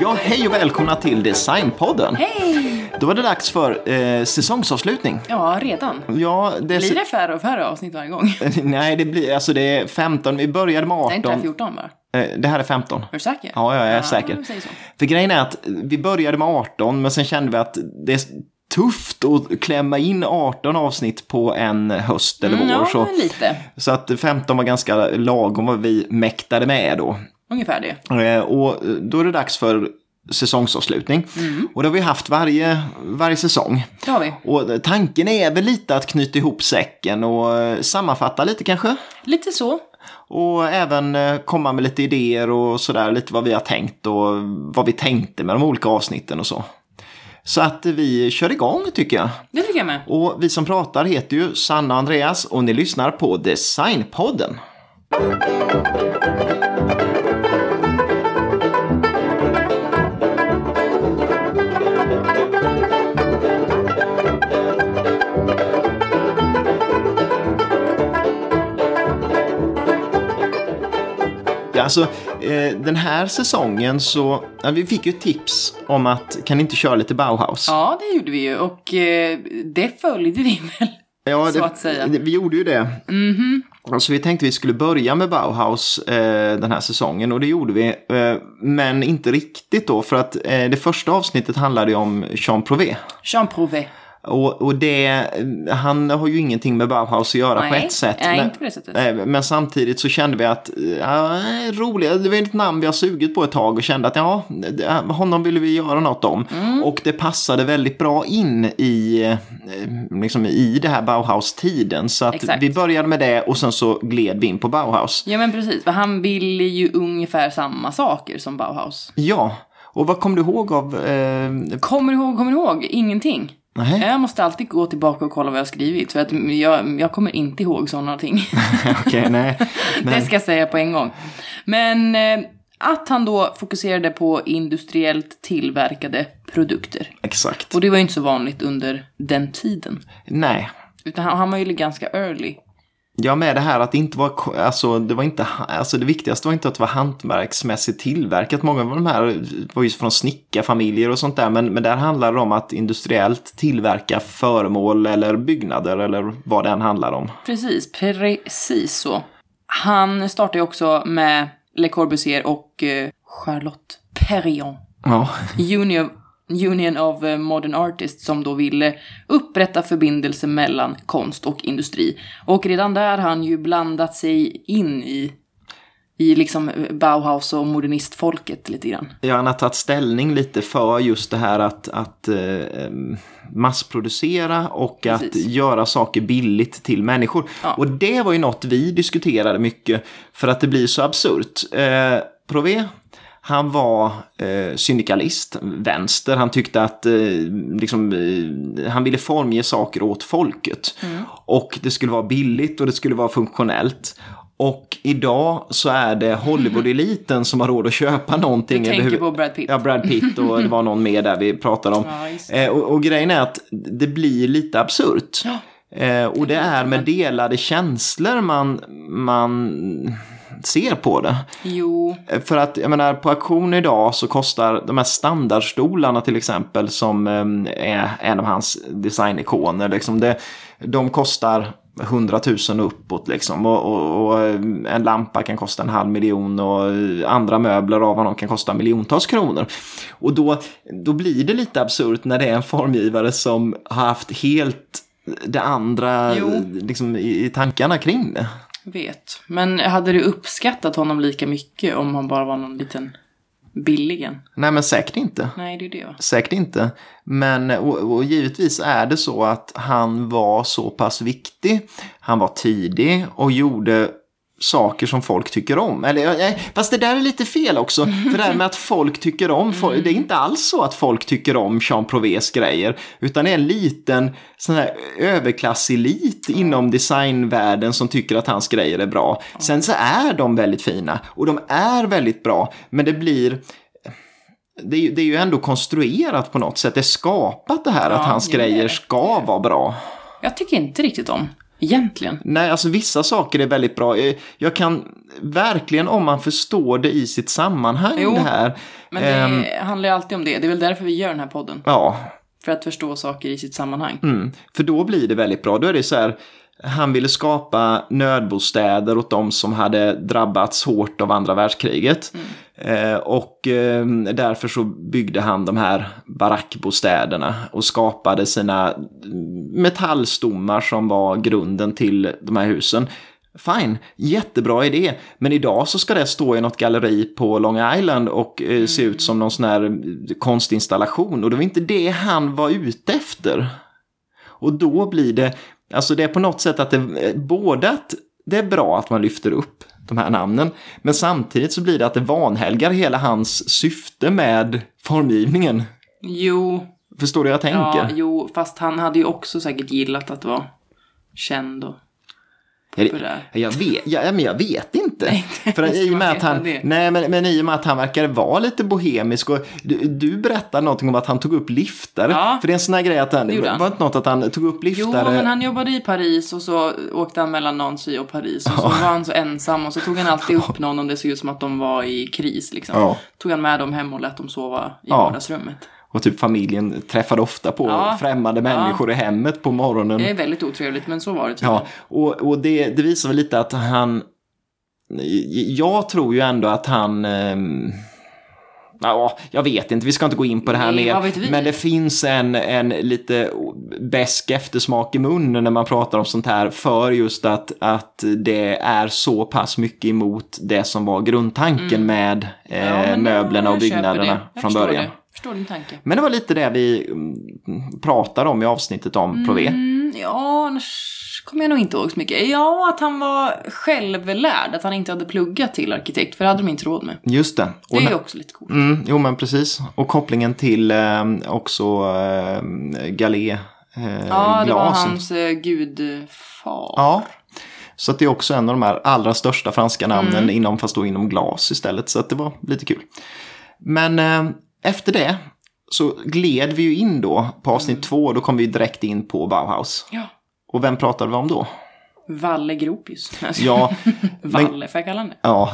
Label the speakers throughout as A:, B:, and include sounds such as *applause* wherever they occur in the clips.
A: Ja, hej och välkomna till Designpodden.
B: Hej!
A: Då var det dags för eh, säsongsavslutning.
B: Ja, redan.
A: Ja, det...
B: Blir det färre och färre avsnitt varje gång?
A: *laughs* Nej, det blir, alltså det är 15, vi började med 18.
B: Det är inte det här Ah. 14 bara. Är
A: Eh, det här är 15.
B: du säker?
A: Ja, jag är
B: vi
A: säker.
B: säger så.
A: För grejen är att vi började med 18, men sen kände vi att det är tufft att klämma in 18 avsnitt på en höst eller
B: Mm,
A: vår.
B: ja,
A: Så,
B: men lite.
A: så att 15 var ganska lagom vad vi mäktade med då.
B: Ungefär det.
A: Eh, Och då är det dags för säsongsavslutning. Och det har vi haft varje, varje säsong.
B: Mm, Det har vi.
A: Och tanken är väl lite att knyta ihop säcken och eh, sammanfatta lite kanske.
B: Lite så.
A: Och även eh, komma med lite idéer och sådär, lite vad vi har tänkt och vad vi tänkte med de olika avsnitten och så. Så att vi kör igång tycker jag.
B: Det tycker jag med.
A: Och vi som pratar heter ju Sanna och Andreas och ni lyssnar på Designpodden. Ja, alltså, eh, den här säsongen så, ja, vi fick ju tips om att kan ni inte köra lite Bauhaus?
B: Ja, det gjorde vi ju och eh, det följde vi väl. Mhm.
A: Ja,
B: så
A: det,
B: att säga.
A: det- vi gjorde ju det. Alltså, vi tänkte vi skulle börja med Bauhaus eh, den här säsongen och det gjorde vi. Eh, men inte riktigt då för att eh, det första avsnittet handlade ju om Jean Prouvé.
B: Jean Prouvé.
A: Och, och det, eh, han har ju ingenting med Bauhaus att göra på ett sätt.
B: nej,
A: men,
B: inte på det sättet.
A: eh, men samtidigt så kände vi att, eh, ja, roligt, det var ett namn vi har sugit på ett tag och kände att ja, det- eh, honom ville vi göra något om.
B: Mm.
A: Och det passade väldigt bra in i, eh, liksom i det här Bauhaus-tiden. Så att
B: Exakt.
A: vi började med det och sen så gled vi in på Bauhaus.
B: Ja, men precis. För han ville ju ungefär samma saker som Bauhaus.
A: Ja, och vad kom du ihåg av...
B: *laughs*
A: Eh,
B: Kommer du ihåg, kommer du ihåg? Ingenting.
A: nej, *laughs*
B: Jag måste alltid gå tillbaka och kolla vad jag har skrivit för att jag, jag kommer inte ihåg sådana ting. *laughs*
A: okej, nej.
B: Det
A: Men,
B: ska jag säga på en gång. Men eh, att han då fokuserade på industriellt tillverkade produkter.
A: exakt.
B: Och det var ju inte så vanligt under den tiden.
A: Nej.
B: Utan han, han var ju ganska early.
A: Ja, med det här att det inte var, ko- alltså det var inte, ha- alltså det viktigaste var inte att det var hantverksmässigt tillverkat. Många av de här var ju från snickarfamiljer och sånt där, men, men där handlar det om att industriellt tillverka föremål eller byggnader eller vad det än handlar om.
B: Precis, precis så. Han startade ju också med Le Corbusier och eh, Charlotte Perriand.
A: Ja,
B: Union, Union of eh, Modern Artists som då ville upprätta förbindelse mellan konst och industri. Och redan där har han ju blandat sig in i, i liksom eh, Bauhaus och modernistfolket lite grann.
A: ja han har tagit ställning lite för just det här att, att eh, em, massproducera och
B: Precis.
A: att göra saker billigt till människor.
B: Ja.
A: Och det var ju något vi diskuterade mycket för att det blir så absurt. Eh, Prové, han var eh, syndikalist, vänster. Han tyckte att eh, liksom, eh, han ville formge saker åt folket.
B: Mm.
A: Och det skulle vara billigt och det skulle vara funktionellt. Och idag så är det Hollywood-eliten som har råd att köpa någonting.
B: Du tänker
A: överhuvud-
B: på Brad Pitt.
A: Ja, Brad Pitt och det var någon mer där vi pratade om.
B: *laughs* Ja, just
A: Eh, och, och grejen är att det blir lite absurt. Eh, och det är med delade känslor man, man ser på det.
B: Jo,
A: Eh, För att jag menar på auktion idag så kostar de här standardstolarna till exempel som eh, är en av hans designikoner. Liksom det, de kostar 100 000 uppåt liksom. Och, och, och eh, en lampa kan kosta en halv miljon och eh, andra möbler av honom kan kosta miljontals kronor. Och då, då blir det lite absurt när det är en formgivare som har haft helt det andra
B: Jo.
A: eh, liksom, i, i tankarna kring det.
B: vet. Men hade du uppskattat honom lika mycket om han bara var någon liten billingen?
A: Nej men säkert inte.
B: Nej, det är ju det va?
A: Säkert inte. Men och, och givetvis är det så att han var så pass viktig. Han var tidig och gjorde saker som folk tycker om. Eller, nej, fast det där är lite fel också. För det här med att folk tycker om, fol- det är inte alls så att folk tycker om Jean Provés grejer. Utan det är en liten sån här överklasselit inom designvärlden som tycker att hans grejer är bra. Sen så är de väldigt fina och de är väldigt bra. Men det blir det är, ju- det är ju ändå konstruerat på något sätt. Det är skapat det här
B: Ja,
A: att hans
B: jo, det är
A: grejer
B: det.
A: ska vara bra.
B: Jag tycker inte riktigt om, egentligen.
A: Nej, alltså vissa saker är väldigt bra. Eh, Jag kan verkligen, om man förstår det i sitt sammanhang
B: Jo,
A: det här.
B: Men det
A: ehm,
B: handlar ju alltid om det. Det är väl därför vi gör den här podden.
A: Ja,
B: För att förstå saker i sitt sammanhang.
A: mm. för då blir det väldigt bra. Då är det så här, han ville skapa nödbostäder åt de som hade drabbats hårt av andra världskriget. Eh, och eh, därför så byggde han de här barackbostäderna och skapade sina metallstommar som var grunden till de här husen. Fine, jättebra idé. Men idag så ska det stå i något galleri på Long Island och eh, se ut som någon sån här eh, konstinstallation. Och det var inte det han var ute efter. Och då blir det, alltså det är på något sätt att det, eh, både att det är bra att man lyfter upp de här namnen, men samtidigt så blir det att det vanhelgar hela hans syfte med formgivningen.
B: Jo,
A: Förstår du hur jag
B: ja,
A: tänker?
B: jo, fast han hade ju också säkert gillat att vara känd och populär.
A: Ja, Jag vet, ja, men jag vet inte. För
B: hur ska
A: i och med
B: man
A: att han,
B: veta det?
A: nej, men, men i och med att han verkar vara lite bohemisk och du, du berättade någonting om att han tog upp liftare.
B: Ja.
A: För det är en sån här grej att han,
B: Det gjorde han.
A: var inte något att han tog upp
B: Jo,
A: liftare?
B: men han jobbade i Paris och så åkte han mellan Nancy och Paris och så var han så ensam och så tog
A: *laughs*
B: han alltid upp någon om det såg ut som att de var i kris liksom.
A: Ja.
B: Tog han med dem hem och lät dem sova i
A: Ja.
B: vardagsrummet.
A: Och typ familjen träffade ofta på
B: Ja.
A: främmande människor i hemmet på morgonen.
B: Det är väldigt otrevligt men så var det typ. tydligen.
A: Ja, och, och det, det visar väl lite att han... Jag tror ju ändå att han... ehm, Ja, jag vet inte, vi ska inte gå in på det här
B: Nej, vad vet
A: mer.
B: vi?
A: Men det finns en, en lite besk eftersmak i munnen när man pratar om sånt här för just att, att det är så pass mycket emot det som var grundtanken med eh,
B: Mm. Ja, men,
A: möblerna och
B: jag köper det.
A: byggnaderna
B: Jag
A: från
B: förstår
A: början.
B: Det. Jag förstår din tanke.
A: Men det var lite det vi mm, pratade om i avsnittet om Prové.
B: Mm, ja, annars kommer jag nog inte ihåg så mycket. Ja, att han var självlärd, att han inte hade pluggat till arkitekt, för det hade de inte råd med.
A: Just det.
B: Det
A: Och
B: är
A: när-
B: ju också lite coolt.
A: Mm, jo men precis. Och kopplingen till eh, också eh, Galé eh,
B: Ja, det var
A: glasen.
B: hans eh, gudfar.
A: Ja. Så att det är också en av de här allra största franska
B: Mm.
A: namnen inom, fast då inom glas istället. Så att det var lite kul. Men eh, efter det så gled vi ju in då på
B: Mm.
A: avsnitt två. Då kom vi direkt in på Bauhaus.
B: Ja.
A: Och vem pratade vi om då?
B: Valle *laughs* Gropius.
A: Ja, men,
B: Valle, får jag kalla honom det?
A: ja.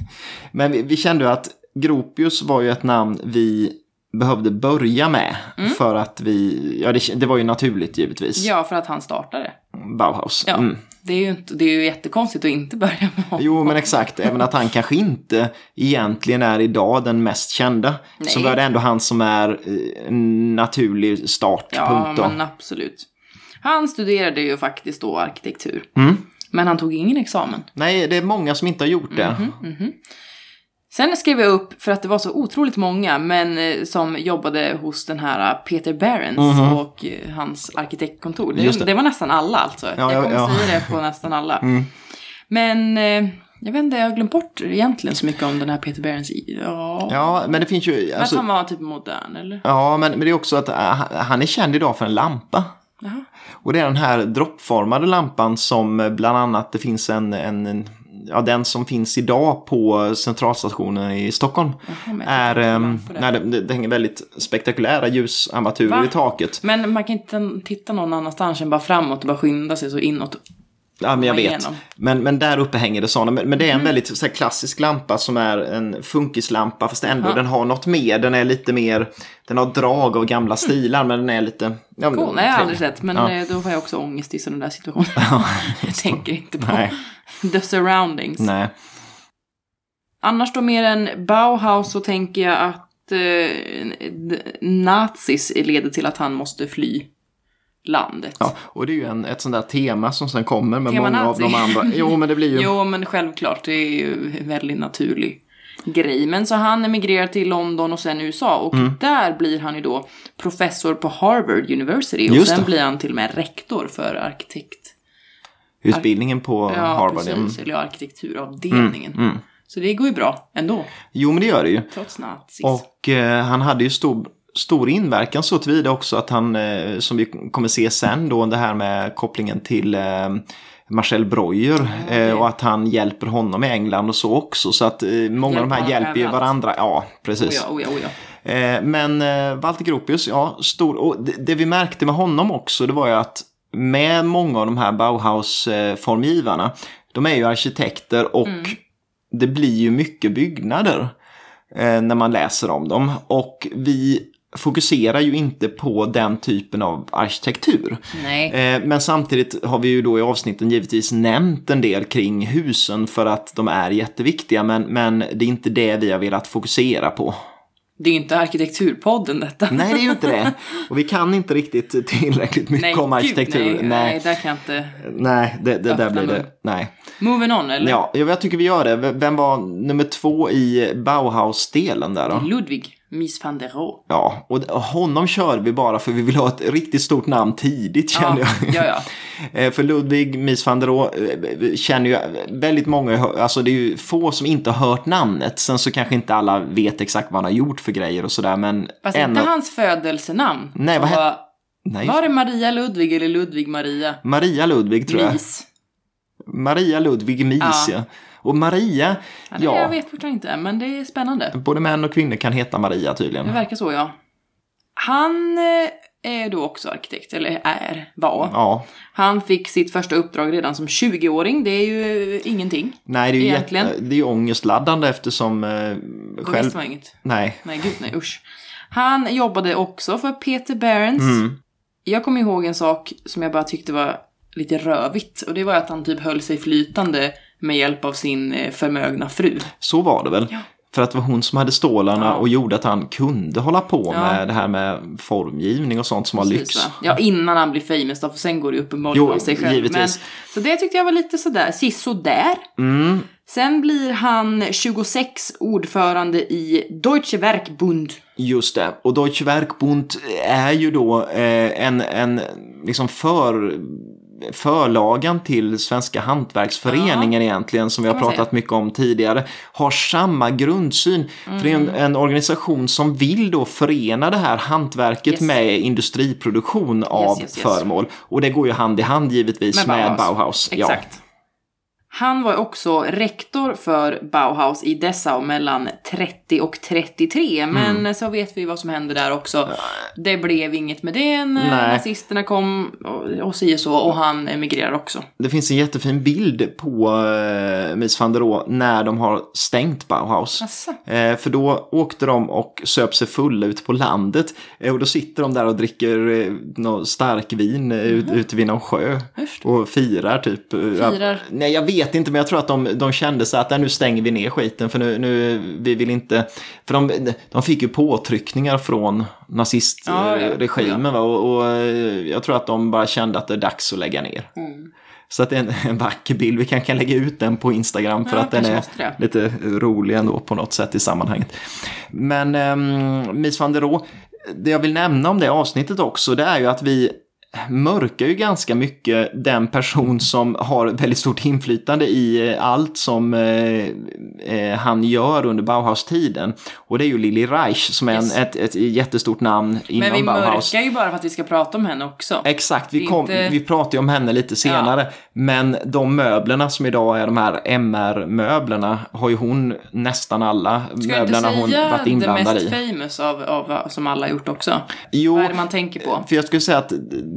A: *laughs* men vi, vi kände ju att Gropius var ju ett namn vi behövde börja med. För att vi, ja det, det var ju naturligt givetvis.
B: Mm. Ja, för att han startade.
A: Bauhaus.
B: Ja.
A: Mm.
B: Det, är ju inte, det är ju jättekonstigt att inte *laughs* börja med honom.
A: Jo, men exakt. Även att han kanske inte egentligen är idag den mest kända. Så
B: Nej.
A: var det ändå han som är eh, en naturlig
B: Ja,
A: startpunkt då.
B: men absolut. Han studerade ju faktiskt då arkitektur.
A: Mm.
B: Men han tog ingen examen.
A: Nej, det är många som inte har gjort det.
B: Mhm. Sen skrev jag upp, för att det var så otroligt många, men eh, som jobbade hos den här eh, Peter Behrens och eh, hans arkitektkontor. Det,
A: Mhm. Just det.
B: det. var nästan alla alltså.
A: ja,
B: jag kommer
A: ja. Mm.
B: säga det på
A: *laughs*
B: nästan alla. Men eh, jag vet inte, jag har glömt bort egentligen så mycket om den här Peter Behrens. i- Ja,
A: Ja, men det finns ju...
B: att
A: Alltså,
B: han var typ modern eller?
A: ja, men, men det är också att eh, han- han är känd idag för en lampa.
B: Jaha.
A: Och det är den här droppformade lampan som eh, bland annat det finns en, en, en ja den som finns idag på centralstationen i Stockholm.
B: men jag
A: är,
B: tittar inte
A: ehm,
B: på det.
A: nej, det, det, det hänger väldigt spektakulära ljusarmaturer
B: Va?
A: i taket.
B: Men man kan inte titta någon annanstans än bara framåt och bara skynda sig så inåt.
A: Ja, men jag
B: komma
A: vet.
B: igenom. Mm.
A: Men, men där uppe hänger det sådana. Men, men det är en väldigt så här, klassisk lampa som är en funkislampa. Fast ändå den har något mer. Den är lite mer, den har drag av gamla stilar. Men den är lite... Ja,
B: Mm. Cool, nej jag har aldrig
A: trevlig.
B: sett, men
A: Ja.
B: eh, då får jag också ångest i sådana där situationer. *laughs* jag tänker inte på
A: Nej.
B: the surroundings.
A: Nej.
B: Annars då mer än Bauhaus så tänker jag att eh, d- nazis leder till att han måste fly landet.
A: Ja, och det är ju en, ett sånt där tema som sen kommer med
B: Tema
A: många
B: nazi.
A: av de andra. Jo, men det blir ju...
B: *laughs* Jo, men självklart, det är ju en väldigt naturlig grej. Men så han emigrerar till London och sen USA och
A: Mm.
B: där blir han ju då professor på Harvard University och
A: Just
B: sen
A: det.
B: blir han till och med rektor för arkitekt
A: utbildningen på
B: Ja,
A: Harvard. mm. ja.
B: precis. Eller arkitekturavdelningen.
A: Mm.
B: Så det går ju bra ändå,
A: Jo, men det gör det ju.
B: trots nazis.
A: Och eh, han hade ju stor, stor inverkan så tillvida också att han, eh, som vi kommer se sen då, det här med kopplingen till eh, Marcel Breuer
B: okej.
A: eh, och att han hjälper honom i England och så också. Så att eh, många av de här
B: Hjälper
A: hjälper ju
B: överallt.
A: varandra. Ja,
B: Oh
A: precis.
B: ja, oh ja, oh ja.
A: Eh, men eh, Walter Gropius, ja, stor. Och det, det vi märkte med honom också, det var ju att med många av de här Bauhaus-formgivarna, de är ju arkitekter och det blir ju mycket byggnader eh, när man läser om dem. Och vi fokuserar ju inte på den typen av arkitektur.
B: Nej.
A: Eh, Men samtidigt har vi ju då i avsnitten givetvis nämnt en del kring husen för att de är jätteviktiga men, men det är inte det vi har velat fokusera på.
B: Det är ju inte arkitekturpodden detta.
A: Nej, det är ju inte det. Och vi kan inte riktigt tillräckligt mycket om arkitektur.
B: Gud, *laughs* nej, nej,
A: nej.
B: där kan jag inte...
A: Nej, det, det där
B: Öppna
A: blir
B: mun.
A: det. Nej.
B: Moving on eller?
A: Ja, jag jag tycker vi gör det. V- Vem var nummer två i Bauhaus-delen där då?
B: Ludwig Mies van der
A: *laughs*
B: Rohe.
A: Ja, och d- honom kör vi bara för vi vill ha ett riktigt stort namn tidigt känner jag.
B: ja, ja.
A: *laughs* Eh, För Ludvig Mies van der Rohe eh, känner ju väldigt många, alltså det är ju få som inte har hört namnet. Sen så kanske inte alla vet exakt vad han har gjort för grejer och sådär men...
B: Fast
A: en
B: inte
A: av-
B: hans födelsenamn.
A: Nej,
B: som
A: vad hette-
B: var,
A: Nej,
B: var det Maria Ludwig eller Ludwig Maria?
A: Maria Ludvig tror jag.
B: Mies?
A: Maria Ludvig Mies,
B: Ja.
A: ja. Och Maria,
B: Ja, det, Jag
A: ja,
B: vet fortfarande inte, men det är spännande.
A: både män och kvinnor kan heta Maria
B: Det
A: tydligen.
B: verkar så, ja. Han eh, är då också arkitekt, eller är, var.
A: Ja,
B: Han fick sitt första uppdrag redan som 20-åring, det är ju eh, ingenting.
A: nej det är ju
B: Egentligen.
A: jätte, det är ju ångestladdande eftersom eh,
B: Då visste
A: själv,
B: man inget.
A: nej.
B: Nej, gud nej, usch. Han jobbade också för Peter Behrens.
A: Mm.
B: Jag kommer ihåg en sak som jag bara tyckte var lite rövigt. Och det var att han typ höll sig flytande med hjälp av sin eh, förmögna fru.
A: Så var det väl.
B: Ja.
A: För att det var hon som hade stålarna
B: Ja.
A: och gjorde att han kunde hålla på
B: Ja.
A: med det här med formgivning och sånt som var lyx.
B: Precis, va? Ja, innan han blir famous då, för sen går det ju uppenbarligen
A: Jo,
B: av sig själv.
A: givetvis.
B: Men, så det tyckte jag var lite sådär, sisådär.
A: Mm.
B: Sen blir han 26 ordförande i Deutsche Werkbund.
A: Just det, och Deutsche Werkbund är ju då eh, en, en liksom för, förlagan till Svenska Hantverksföreningen egentligen som vi har
B: Kan man
A: pratat mycket om tidigare. Har samma grundsyn. För det är en,
B: Mm.
A: en organisation som vill då förena det här hantverket
B: Yes.
A: med industriproduktion av
B: yes, yes.
A: föremål. Och det går ju hand i hand givetvis med Bauhaus.
B: Exakt. Han var också rektor för Bauhaus i Dessau mellan 30 och 33. Men
A: Mm.
B: så vet vi vad som hände där också. Det blev inget med det när
A: Nej.
B: nazisterna kom och, och si och så. Och han emigrerar också.
A: Det finns en jättefin bild på eh, Mies van der Rohe när de har stängt Bauhaus.
B: Asså.
A: Eh, för då åkte de och söp sig fulla ute på landet. Eh, och då sitter de där och dricker eh, någon stark vin eh, ut, ute vid någon sjö.
B: Mhm. Just.
A: Och firar typ. eh,
B: Firar.
A: ja, nej jag vet inte men jag tror att de, de kände så att "Nej, nu stänger vi ner skiten för nu, nu vi vill inte. För de, de fick ju påtryckningar från
B: Ja, ja,
A: nazistregimen. va? Och, och eh, jag tror att de bara kände att det är dags att lägga ner.
B: Mm.
A: Så att det är en, en vacker bild. Vi kan, kan lägga ut den på Instagram för
B: Ja,
A: att den
B: kanske
A: är
B: måste det.
A: lite rolig ändå på något sätt i sammanhanget. Men um, Mies van der Rohe, det jag vill nämna om det avsnittet också, det är ju att vi mörkar ju ganska mycket den person som har väldigt stort inflytande i eh, allt som eh, eh, han gör under Bauhaus-tiden. Och det är ju Lili Reich som är
B: Yes.
A: en, ett, ett jättestort namn inom
B: Men vi
A: Bauhaus.
B: mörkar ju bara för att vi ska prata om henne också.
A: Exakt,
B: Det
A: vi,
B: är
A: kom,
B: inte-
A: vi pratar ju om henne lite senare. Men de möblerna som idag är de här MR-möblerna har ju hon nästan alla
B: Ska jag inte
A: möblerna hon
B: säga
A: varit inblandad
B: the
A: i.
B: mest famous av, av som alla har gjort också?
A: Jo,
B: Vad är det man tänker på?
A: för jag skulle säga att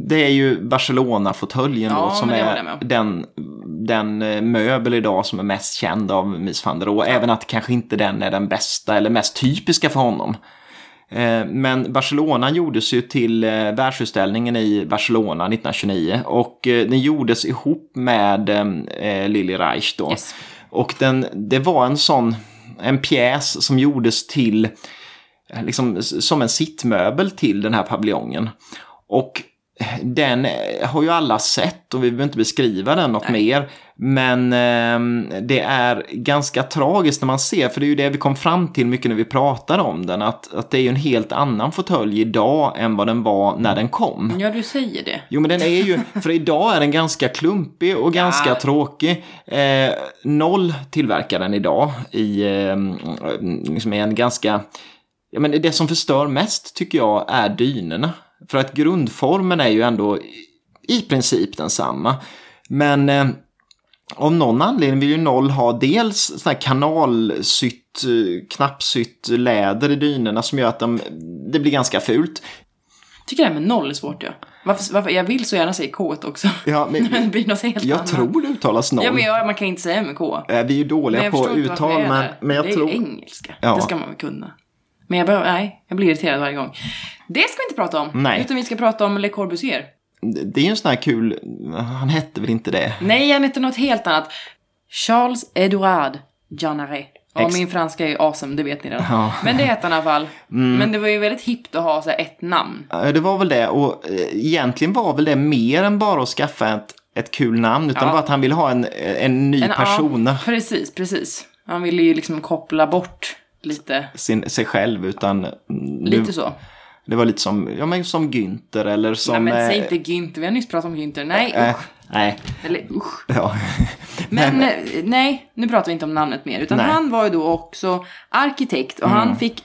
A: det är ju Barcelona-fåtöljen
B: Ja,
A: då som
B: men det håller jag
A: är
B: med om.
A: den, den eh, möbel idag som är mest känd av Mies van der Rohe. Även att kanske inte den är den bästa eller mest typiska för honom. Eh, Men Barcelona gjordes ju till eh, världsutställningen i Barcelona 1929 och eh, den gjordes ihop med eh, Lili Reich då.
B: Yes.
A: Och den, det var en sån, en pjäs som gjordes till, eh, liksom s- som en sittmöbel till den här paviljongen. Och den eh, har ju alla sett och vi behöver inte beskriva den något mer. Men eh, det är ganska tragiskt när man ser, för det är ju det vi kom fram till mycket när vi pratade om den, att, att det är ju en helt annan fåtölj idag än vad den var när den kom.
B: Ja, du säger det.
A: Jo men den är
B: *laughs*
A: ju, för idag är den ganska klumpig och ganska
B: Ja.
A: tråkig. Eh, noll tillverkar den idag i, eh, liksom i en ganska, ja men det som förstör mest tycker jag är dynorna. För att grundformen är ju ändå i- i princip densamma. Men eh, av någon anledning vill ju Noll ha dels sån här kanalsytt, eh, knappsytt läder i dynorna som gör att de, det blir ganska fult.
B: Tycker det här med noll är svårt ja. Varför, varför, jag vill så gärna säga K också.
A: Ja, men-
B: *laughs* men det blir något helt
A: Jag
B: annat.
A: tror det uttalas Noll.
B: Ja, men jag, man kan inte säga med K.
A: Eh, Vi är ju dåliga
B: Men jag
A: på
B: förstår inte varför
A: uttal,
B: det är
A: men,
B: där.
A: men jag
B: det
A: tror...
B: är ju engelska.
A: Ja.
B: Det ska man väl kunna. Men jag behöver, nej, jag blir irriterad varje gång. Det ska vi inte prata om.
A: Nej.
B: Utan vi ska prata om Le Corbusier.
A: Det är ju en sån här kul... Han hette väl inte det?
B: Nej, han heter något helt annat. Charles Edouard Jeanneret. Ja,
A: Ex-
B: min franska är ju awesome, det vet ni redan.
A: Ja. Mm.
B: Men det heter han i alla fall. Men det var ju väldigt hippt att ha så här ett namn.
A: Eh, Det var väl det, och eh, egentligen var väl det mer än bara att skaffa ett, ett kul namn, utan
B: Ja.
A: bara att han ville ha en, en ny
B: En-
A: persona.
B: Ja, precis, precis. Han ville ju liksom koppla bort lite.
A: Sin, sig själv, utan... mm,
B: Lite
A: det,
B: så.
A: det var lite som, ja, men som Günther eller som...
B: Nej men säg
A: eh,
B: inte Günther, vi har nyss pratat om Günther. Nej,
A: eh,
B: usch.
A: nej, *laughs*
B: Eller usch.
A: ja.
B: Men eh, nej, nu pratar vi inte om namnet mer. Utan
A: Nej. Mm.
B: han var ju då också arkitekt och han fick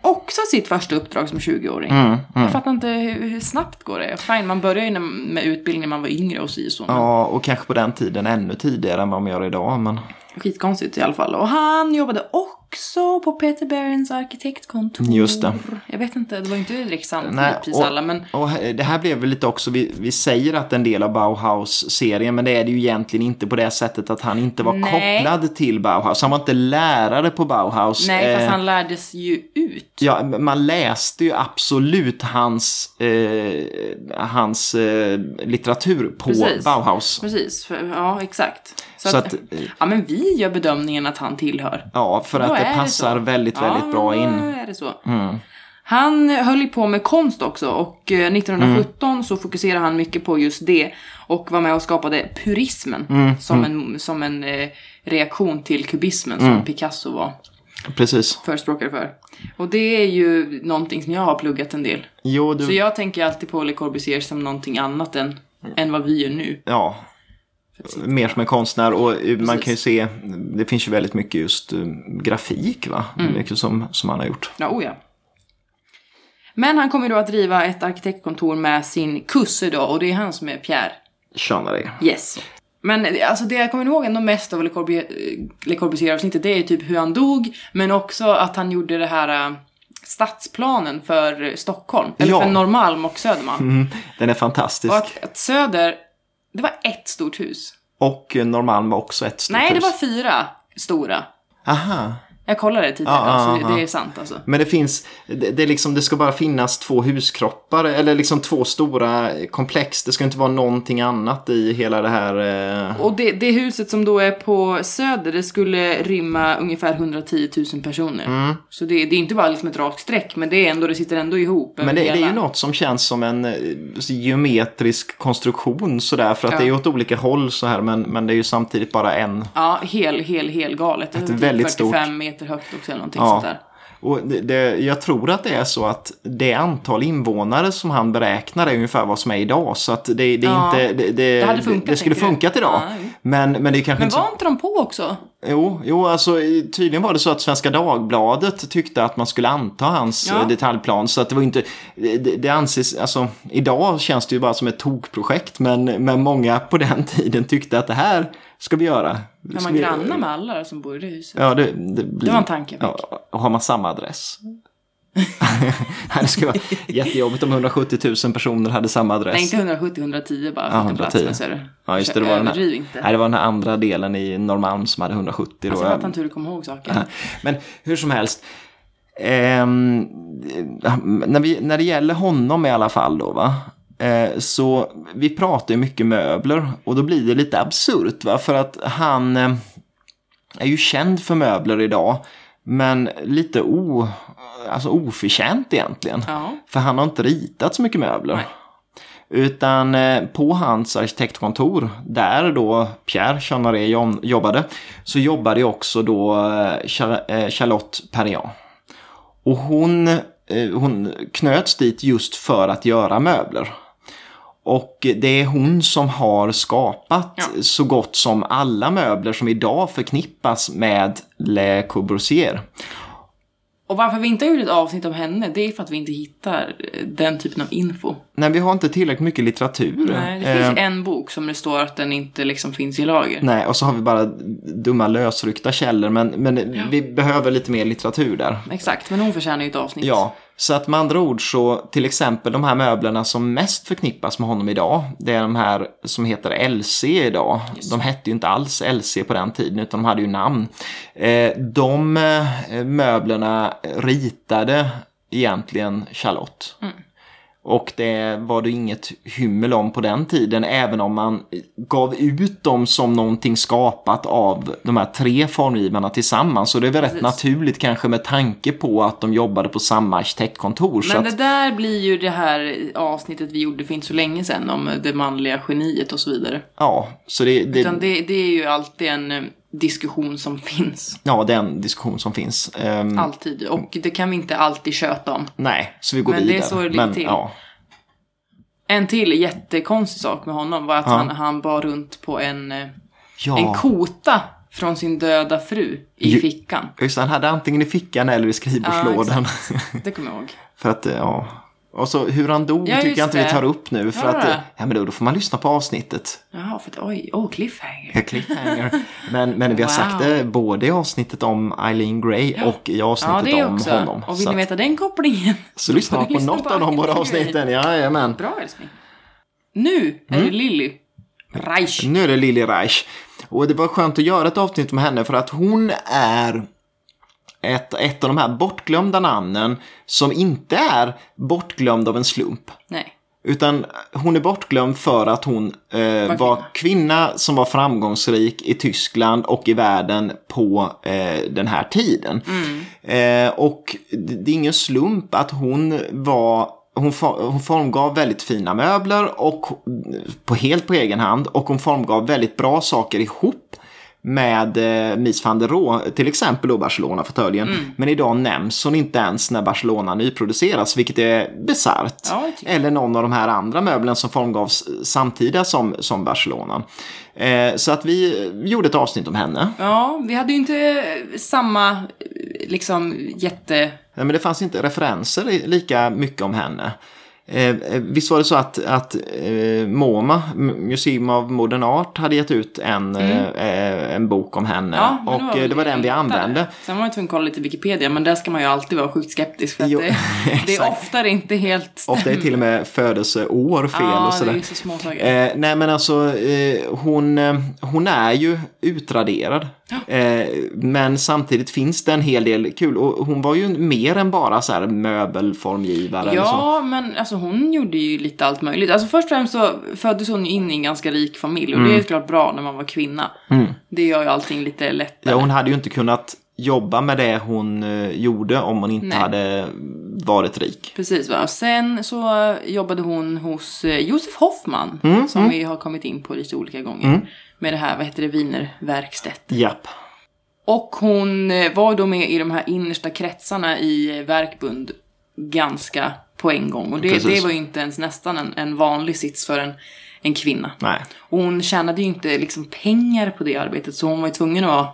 B: också sitt första uppdrag som 20-åring. Jag fattar inte hur, hur snabbt går det. Fine, man börjar ju när- med utbildning när man var yngre och si och så. men
A: ja, och kanske på den tiden ännu tidigare än vad man gör idag, men...
B: Skitkonstigt i alla fall. Och han jobbade också på Peter Berens arkitektkontor.
A: Just det.
B: Jag vet inte, det var ju inte direkt samtidigt
A: Nej,
B: precis
A: och,
B: alla men
A: och det här blev väl lite också, vi, vi säger att en del av Bauhaus-serien, men det är det ju egentligen inte på det sättet att han inte var
B: Nej.
A: kopplad till Bauhaus. Han var inte lärare på Bauhaus.
B: nej, fast
A: Eh,
B: han lärdes ju ut.
A: Ja, man läste ju absolut hans, eh, hans eh, litteratur på
B: Precis.
A: Bauhaus.
B: Precis, för, ja exakt. Så,
A: Så
B: att,
A: att, eh,
B: ja men vi gör bedömningen att han tillhör.
A: Ja, för
B: Då
A: att
B: är
A: det
B: det
A: passar
B: så.
A: väldigt, väldigt
B: ja,
A: bra
B: då
A: in.
B: Är det så. Han höll ju på med konst också och eh, 1917 så fokuserade han mycket på just det och var med och skapade purismen som en, som en eh, reaktion till kubismen som Picasso var
A: Precis.
B: förespråkare för. Och det är ju någonting som jag har pluggat en del.
A: Jo,
B: Så
A: du...
B: jag tänker alltid på Le Corbusier som någonting annat än, än vad vi gör nu.
A: Ja. Mer som en konstnär och eh, man
B: Precis.
A: kan ju se, det finns ju väldigt mycket just eh, grafik va?
B: Mm.
A: Mycket som, som han har gjort.
B: Ja, oh ja. Men han kommer då att driva ett arkitektkontor med sin kusse då och det är han som är Pierre.
A: Tjena dig.
B: Yes. Men eh, alltså det jag kommer ihåg ändå mest av Le Corbusier- eh, Le Corbusier-avsnittet det är ju typ hur han dog, men också att han gjorde det här eh, stadsplanen för eh, Stockholm. Eller
A: Ja.
B: för Norrmalm och Södermalm.
A: Mm, den är
B: Och
A: fantastisk.
B: att, att Söder, det var ett stort hus.
A: Och eh, Norrmalm var också ett stort
B: Nej, det
A: hus.
B: var fyra stora.
A: Aha.
B: Jag kollade det tidigare,
A: Ja, ja,
B: alltså,
A: ja.
B: det, det är sant alltså.
A: Men det finns, det, det, är liksom, det ska bara finnas två huskroppar eller liksom två stora eh, komplex. Det ska inte vara någonting annat i hela det här. Eh...
B: Och det, det huset som då är på Söder, det skulle rymma ungefär 110 000 personer.
A: Mm.
B: Så det, det är inte bara liksom ett rakt streck, men det, är ändå, det sitter ändå ihop. över
A: Men det, det är
B: hela.
A: ju något som känns som en eh, geometrisk konstruktion sådär för att
B: Ja.
A: det är ju åt olika håll så här men, men det är ju samtidigt bara en.
B: Ja, hel, hel, hel galet. Det är typ
A: väldigt
B: 45 meter högt också eller någonting
A: Ja.
B: sånt där.
A: Och det, det, jag tror att det är så att det antal invånare som han beräknar är ungefär vad som är idag. Så att det, det är
B: Ja.
A: inte... Det, det,
B: Det hade funkat,
A: det skulle
B: tänker du?
A: funkat idag.
B: Ja, jo.
A: men, men det är kanske
B: Men
A: inte så
B: var inte de på också?
A: Jo, jo alltså, i- tydligen var det så att Svenska Dagbladet tyckte att man skulle anta hans
B: Ja.
A: eh, detaljplan. Så att det var ju inte, det, det anses, alltså idag känns det ju bara som ett tokprojekt. Men, men många på den *laughs* tiden tyckte att det här ska vi göra.
B: Är
A: Ska
B: man
A: vi-
B: grannar med alla som bor i det huset?
A: Ja, det, det, blir,
B: Det var en tanke.
A: ja, och har man samma adress? *laughs* Nej, det skulle vara jättejobbigt om 170 000 personer hade samma adress.
B: Nej, inte 170, 110 bara.
A: Ja,
B: för att en plats
A: 110.
B: på Söder.
A: Ja, just det, det var den
B: Överdriv
A: här,
B: inte.
A: nej, det var den här andra delen i Norrmalm som hade 170. då.
B: Alltså, jag
A: Jag-
B: fattar inte hur du kommer ihåg saker.
A: *laughs* Men hur som helst. Ehm, när, vi, när det gäller honom i alla fall då va. Eh, så vi pratar ju mycket möbler och då blir det lite absurt va. För att han eh, är ju känd för möbler idag. Men lite o, alltså oförtjänt egentligen.
B: Ja.
A: För han har inte ritat så mycket möbler.
B: Nej.
A: Utan eh, på hans arkitektkontor, där då Pierre Chanaré jo- jobbade, så jobbade ju också då eh, Char- eh, Charlotte Perriand. Och hon, eh, hon knöts dit just för att göra möbler. Och det är hon som har skapat
B: Ja.
A: så gott som alla möbler som idag förknippas med Le Corbusier.
B: Och varför vi inte har gjort ett avsnitt om henne, det är för att vi inte hittar eh, den typen av info.
A: Nej, vi har inte tillräckligt mycket litteratur.
B: Nej, det finns
A: Eh,
B: en bok som det står att den inte liksom finns i lager.
A: Nej, och så har vi bara dumma lösryckta källor, men, men vi behöver lite mer litteratur där.
B: Exakt, men hon förtjänar ju ett avsnitt.
A: Ja, så att med andra ord så till exempel de här möblerna som mest förknippas med honom idag, det är de här som heter LC idag. De hette ju inte alls LC på den tiden utan de hade ju namn. Eh, De eh, möblerna ritade egentligen Charlotte. Och det var det inget hymmel om på den tiden, även om man gav ut dem som någonting skapat av de här tre formgivarna tillsammans. Så det är väl rätt naturligt kanske med tanke på att de jobbade på samma arkitektkontor. så
B: Men
A: att,
B: det där blir ju det här avsnittet vi gjorde för inte så länge sedan om det manliga geniet och så vidare.
A: ja, så det, det,
B: Utan det, det är ju alltid en eh, diskussion som finns.
A: ja, det är en diskussion som finns. Ehm,
B: Alltid. Och det kan vi inte alltid köta om.
A: nej, så vi går
B: Men det är
A: vidare.
B: så det ligger
A: men,
B: till.
A: Ja,
B: En till jättekonstig sak med honom var att han, han bar runt på en, eh,
A: ja.
B: en kota från sin döda fru i
A: Ju-
B: fickan.
A: Just det, han hade antingen i fickan eller i skrivbordslådan.
B: Det kommer jag ihåg.
A: *laughs* För att, ja. Och så hur han dog
B: Ja, just
A: tycker jag inte
B: det.
A: vi tar upp nu. För
B: Ja.
A: att, eh, ja men då, då får man lyssna på avsnittet. *laughs*
B: Jaha, för att oj, oh cliffhanger.
A: Eh, Cliffhanger. Men, men vi har
B: Wow.
A: sagt det både i avsnittet om Eileen Gray och i
B: Ja,
A: avsnittet
B: det
A: om
B: också.
A: honom.
B: Och vill
A: så
B: ni
A: att-
B: veta den kopplingen? *laughs*
A: så lyssna
B: får
A: på
B: ni lyssna
A: något
B: på
A: av de båda
B: Eileen
A: avsnitten. Jajamän.
B: Bra älskling. Nu
A: Mm.
B: är det Lilly. Reich.
A: Nu är det Lili Reich. Och det var skönt att göra ett avsnitt med henne för att hon är ett, ett av de här bortglömda namnen som inte är bortglömd av en slump.
B: Nej.
A: Utan hon är bortglömd för att hon eh, var,
B: kvinna.
A: kvinna. som var framgångsrik i Tyskland och i världen på eh, den här tiden. Eh, och det det är ingen slump att hon var hon, for- hon formgav väldigt fina möbler och på, helt på egen hand och hon formgav väldigt bra saker ihop med eh, Mies van der Rohe, till exempel då Barcelona-fåtöljen. Men idag nämns hon inte ens när Barcelona nyproduceras, vilket är bisarrt.
B: Ja, det typ- tycker jag.
A: Eller någon av de här andra möblerna som formgavs samtida som, som Barcelona. Eh, så att vi gjorde ett avsnitt om henne.
B: Ja, vi hade ju inte eh, samma eh, liksom jätte...
A: Eh, Men det fanns inte referenser i- lika mycket om henne. Eh, eh, visst var det så att, att eh, MoMA, M- Museum of Modern Art, hade gett ut en, eh, en bok om henne.
B: Mm. Ja, men
A: och eh,
B: väl
A: det var den vi
B: hittade.
A: använde.
B: Sen var jag tvungen att kolla lite Wikipedia, men där ska man ju alltid vara sjukt skeptisk för att
A: Jo, *laughs*
B: det, det är
A: exakt.
B: oftare inte helt stämmer.
A: Ofta är till och med födelseår fel
B: ja,
A: och sådär.
B: det är så små saker.
A: Eh, nej men alltså eh, hon, eh, hon är ju utraderad. Eh, men samtidigt finns det en hel del kul och hon var ju mer än bara så här möbelformgivare. Eller så.
B: Ja, men alltså hon gjorde ju lite allt möjligt. Alltså först och främst så föddes hon ju in i en ganska rik familj och
A: Mm.
B: det är klart bra när man var kvinna. Det gör ju allting lite lättare.
A: Ja, hon hade ju inte kunnat jobba med det hon eh, gjorde om hon inte
B: Nej.
A: hade varit rik.
B: Precis va. Sen så eh, jobbade hon hos eh, Josef Hoffman
A: Mm,
B: som vi har kommit in på lite olika gånger. Med det här, vad heter det, Wienerverkstedt.
A: Japp.
B: Och hon eh, var då med i de här innersta kretsarna i eh, Verkbund ganska på en gång. Och det,
A: Precis.
B: det var ju inte ens nästan en, en vanlig sits för en, en kvinna.
A: Nej.
B: Och hon tjänade ju inte liksom pengar på det arbetet så hon var ju tvungen att vara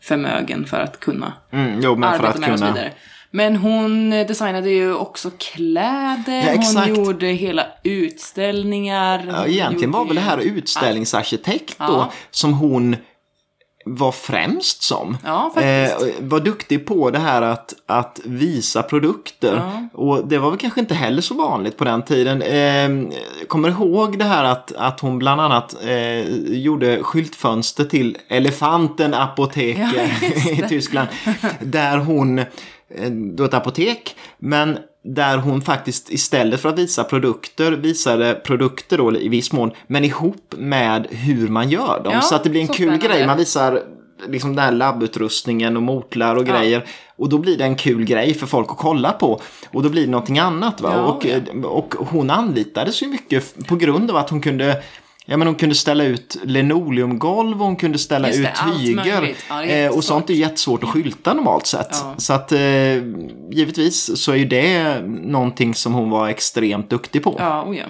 B: förmögen för att kunna
A: Mm, jo, men för
B: arbeta
A: att
B: med det och så
A: kunna...
B: vidare. Men hon eh, designade ju också kläder,
A: Ja,
B: hon
A: exakt.
B: gjorde hela utställningar.
A: Ja,
B: hon
A: egentligen var
B: gjorde
A: väl det här
B: ju-
A: utställningsarkitekt
B: Ja.
A: då som hon var främst som.
B: Ja, faktiskt.
A: Eh, var duktig på det här att, att visa produkter. Och det var väl kanske inte heller så vanligt på den tiden. Eh, kommer ihåg det här att, att hon bland annat eh, gjorde skyltfönster till Elefanten Apotek
B: Ja, just
A: *laughs* i
B: det.
A: Tyskland. Där hon, eh, då ett apotek, men där hon faktiskt istället för att visa produkter visade produkter då i viss mån, men ihop med hur man gör dem.
B: Ja,
A: så att det blir en
B: så
A: kul
B: spännande.
A: grej. Man visar liksom den här labbutrustningen och motlär och
B: Ja.
A: grejer. Och då blir det en kul grej för folk att kolla på. Och då blir det någonting annat. Va?
B: Ja,
A: och, eh, och hon anlitades ju mycket f- på grund av att hon kunde Ja, men hon kunde ställa ut linoleumgolv och hon kunde ställa
B: Just det,
A: ut
B: allt
A: tyger.
B: möjligt. Ja, det är
A: eh, och
B: jättesmart.
A: sånt är jättesvårt att skylta normalt sett.
B: Ja.
A: Så att eh, givetvis så är ju det någonting som hon var extremt duktig på.
B: Ja, oh ja.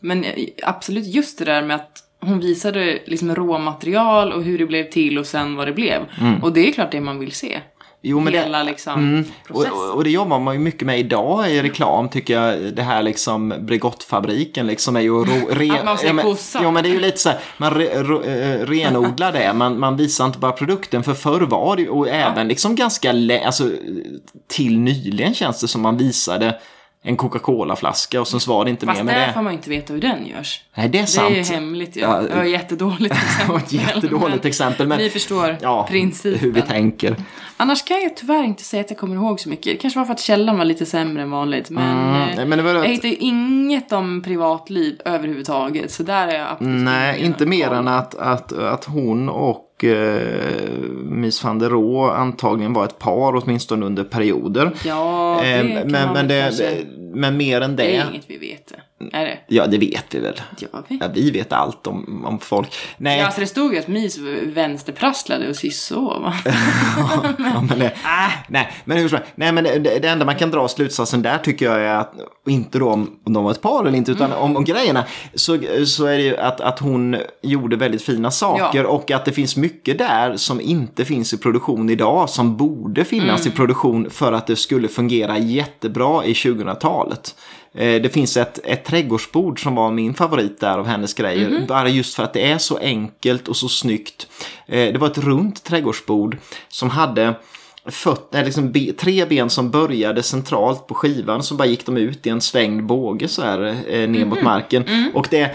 B: Men eh, absolut just det där med att hon visade liksom råmaterial och hur det blev till och sen vad det blev. Och det är klart det man vill se.
A: Jo, men det,
B: Hela liksom
A: Mm. Och,
B: processen.
A: och- och det jobbar man ju mycket med idag i reklam tycker jag. Det här liksom Bregottfabriken liksom är ju att
B: *laughs*
A: ro, re,
B: Att man ska
A: ja, men,
B: kossa.
A: ja, men det är ju lite så här, man re, ro, eh, renodlar det. Man, man visar inte bara produkten. För förr var det ju- och även liksom ganska, lä- alltså till nyligen känns det som man visade en Coca-Cola-flaska och sen så var det inte mer
B: Fast
A: med
B: där
A: det.
B: får man ju inte veta hur den görs.
A: Nej, det är sant.
B: Det är
A: *laughs*
B: ju hemligt ju.
A: Ja,
B: Ja. Det
A: *laughs*
B: var jättedåligt exempel.
A: ett jättedåligt
B: men
A: exempel, men-
B: Ni förstår
A: Ja,
B: principen.
A: hur vi tänker.
B: Annars kan jag tyvärr inte säga att jag kommer ihåg så mycket. Det kanske var för att källan var lite sämre än vanligt. Men,
A: Mm,
B: eh,
A: men det var
B: jag
A: att-
B: hittar ju inget om privatliv överhuvudtaget. Så där är jag absolut
A: Nej,
B: ingen
A: inte mer
B: koll.
A: än att, att, att hon och eh, Miss van der Rohe antagligen var ett par, åtminstone under perioder.
B: Ja, det
A: Eh,
B: kan
A: men,
B: man
A: men,
B: väl
A: det,
B: kanske-
A: men mer än
B: Det
A: det.
B: är inget vi vet. Är det?
A: Ja, det vet vi väl.
B: Gör vi?
A: Ja, vi vet allt om, om folk. Nej,
B: Ja, alltså det stod ju att Mys vänsterprasslade och sist
A: *laughs*
B: så va?
A: ja, men det,
B: Ah.
A: nej, men hur som helst. Nej, men det, det enda man kan dra slutsatsen där tycker jag är att, och inte då om, om de var ett par eller inte, utan
B: Mm.
A: om, om grejerna, så, så är det ju att, att hon gjorde väldigt fina saker
B: Ja.
A: och att det finns mycket där som inte finns i produktion idag, som borde finnas i produktion för att det skulle fungera jättebra i 2000-talet. Eh, Det finns ett, ett trädgårdsbord som var min favorit där av hennes grejer. Bara just för att det är så enkelt och så snyggt. Eh, Det var ett runt trädgårdsbord som hade föt, eh, liksom be, tre ben som började centralt på skivan. Så bara gick de ut i en svängd båge så här eh, ner mot marken. Och det är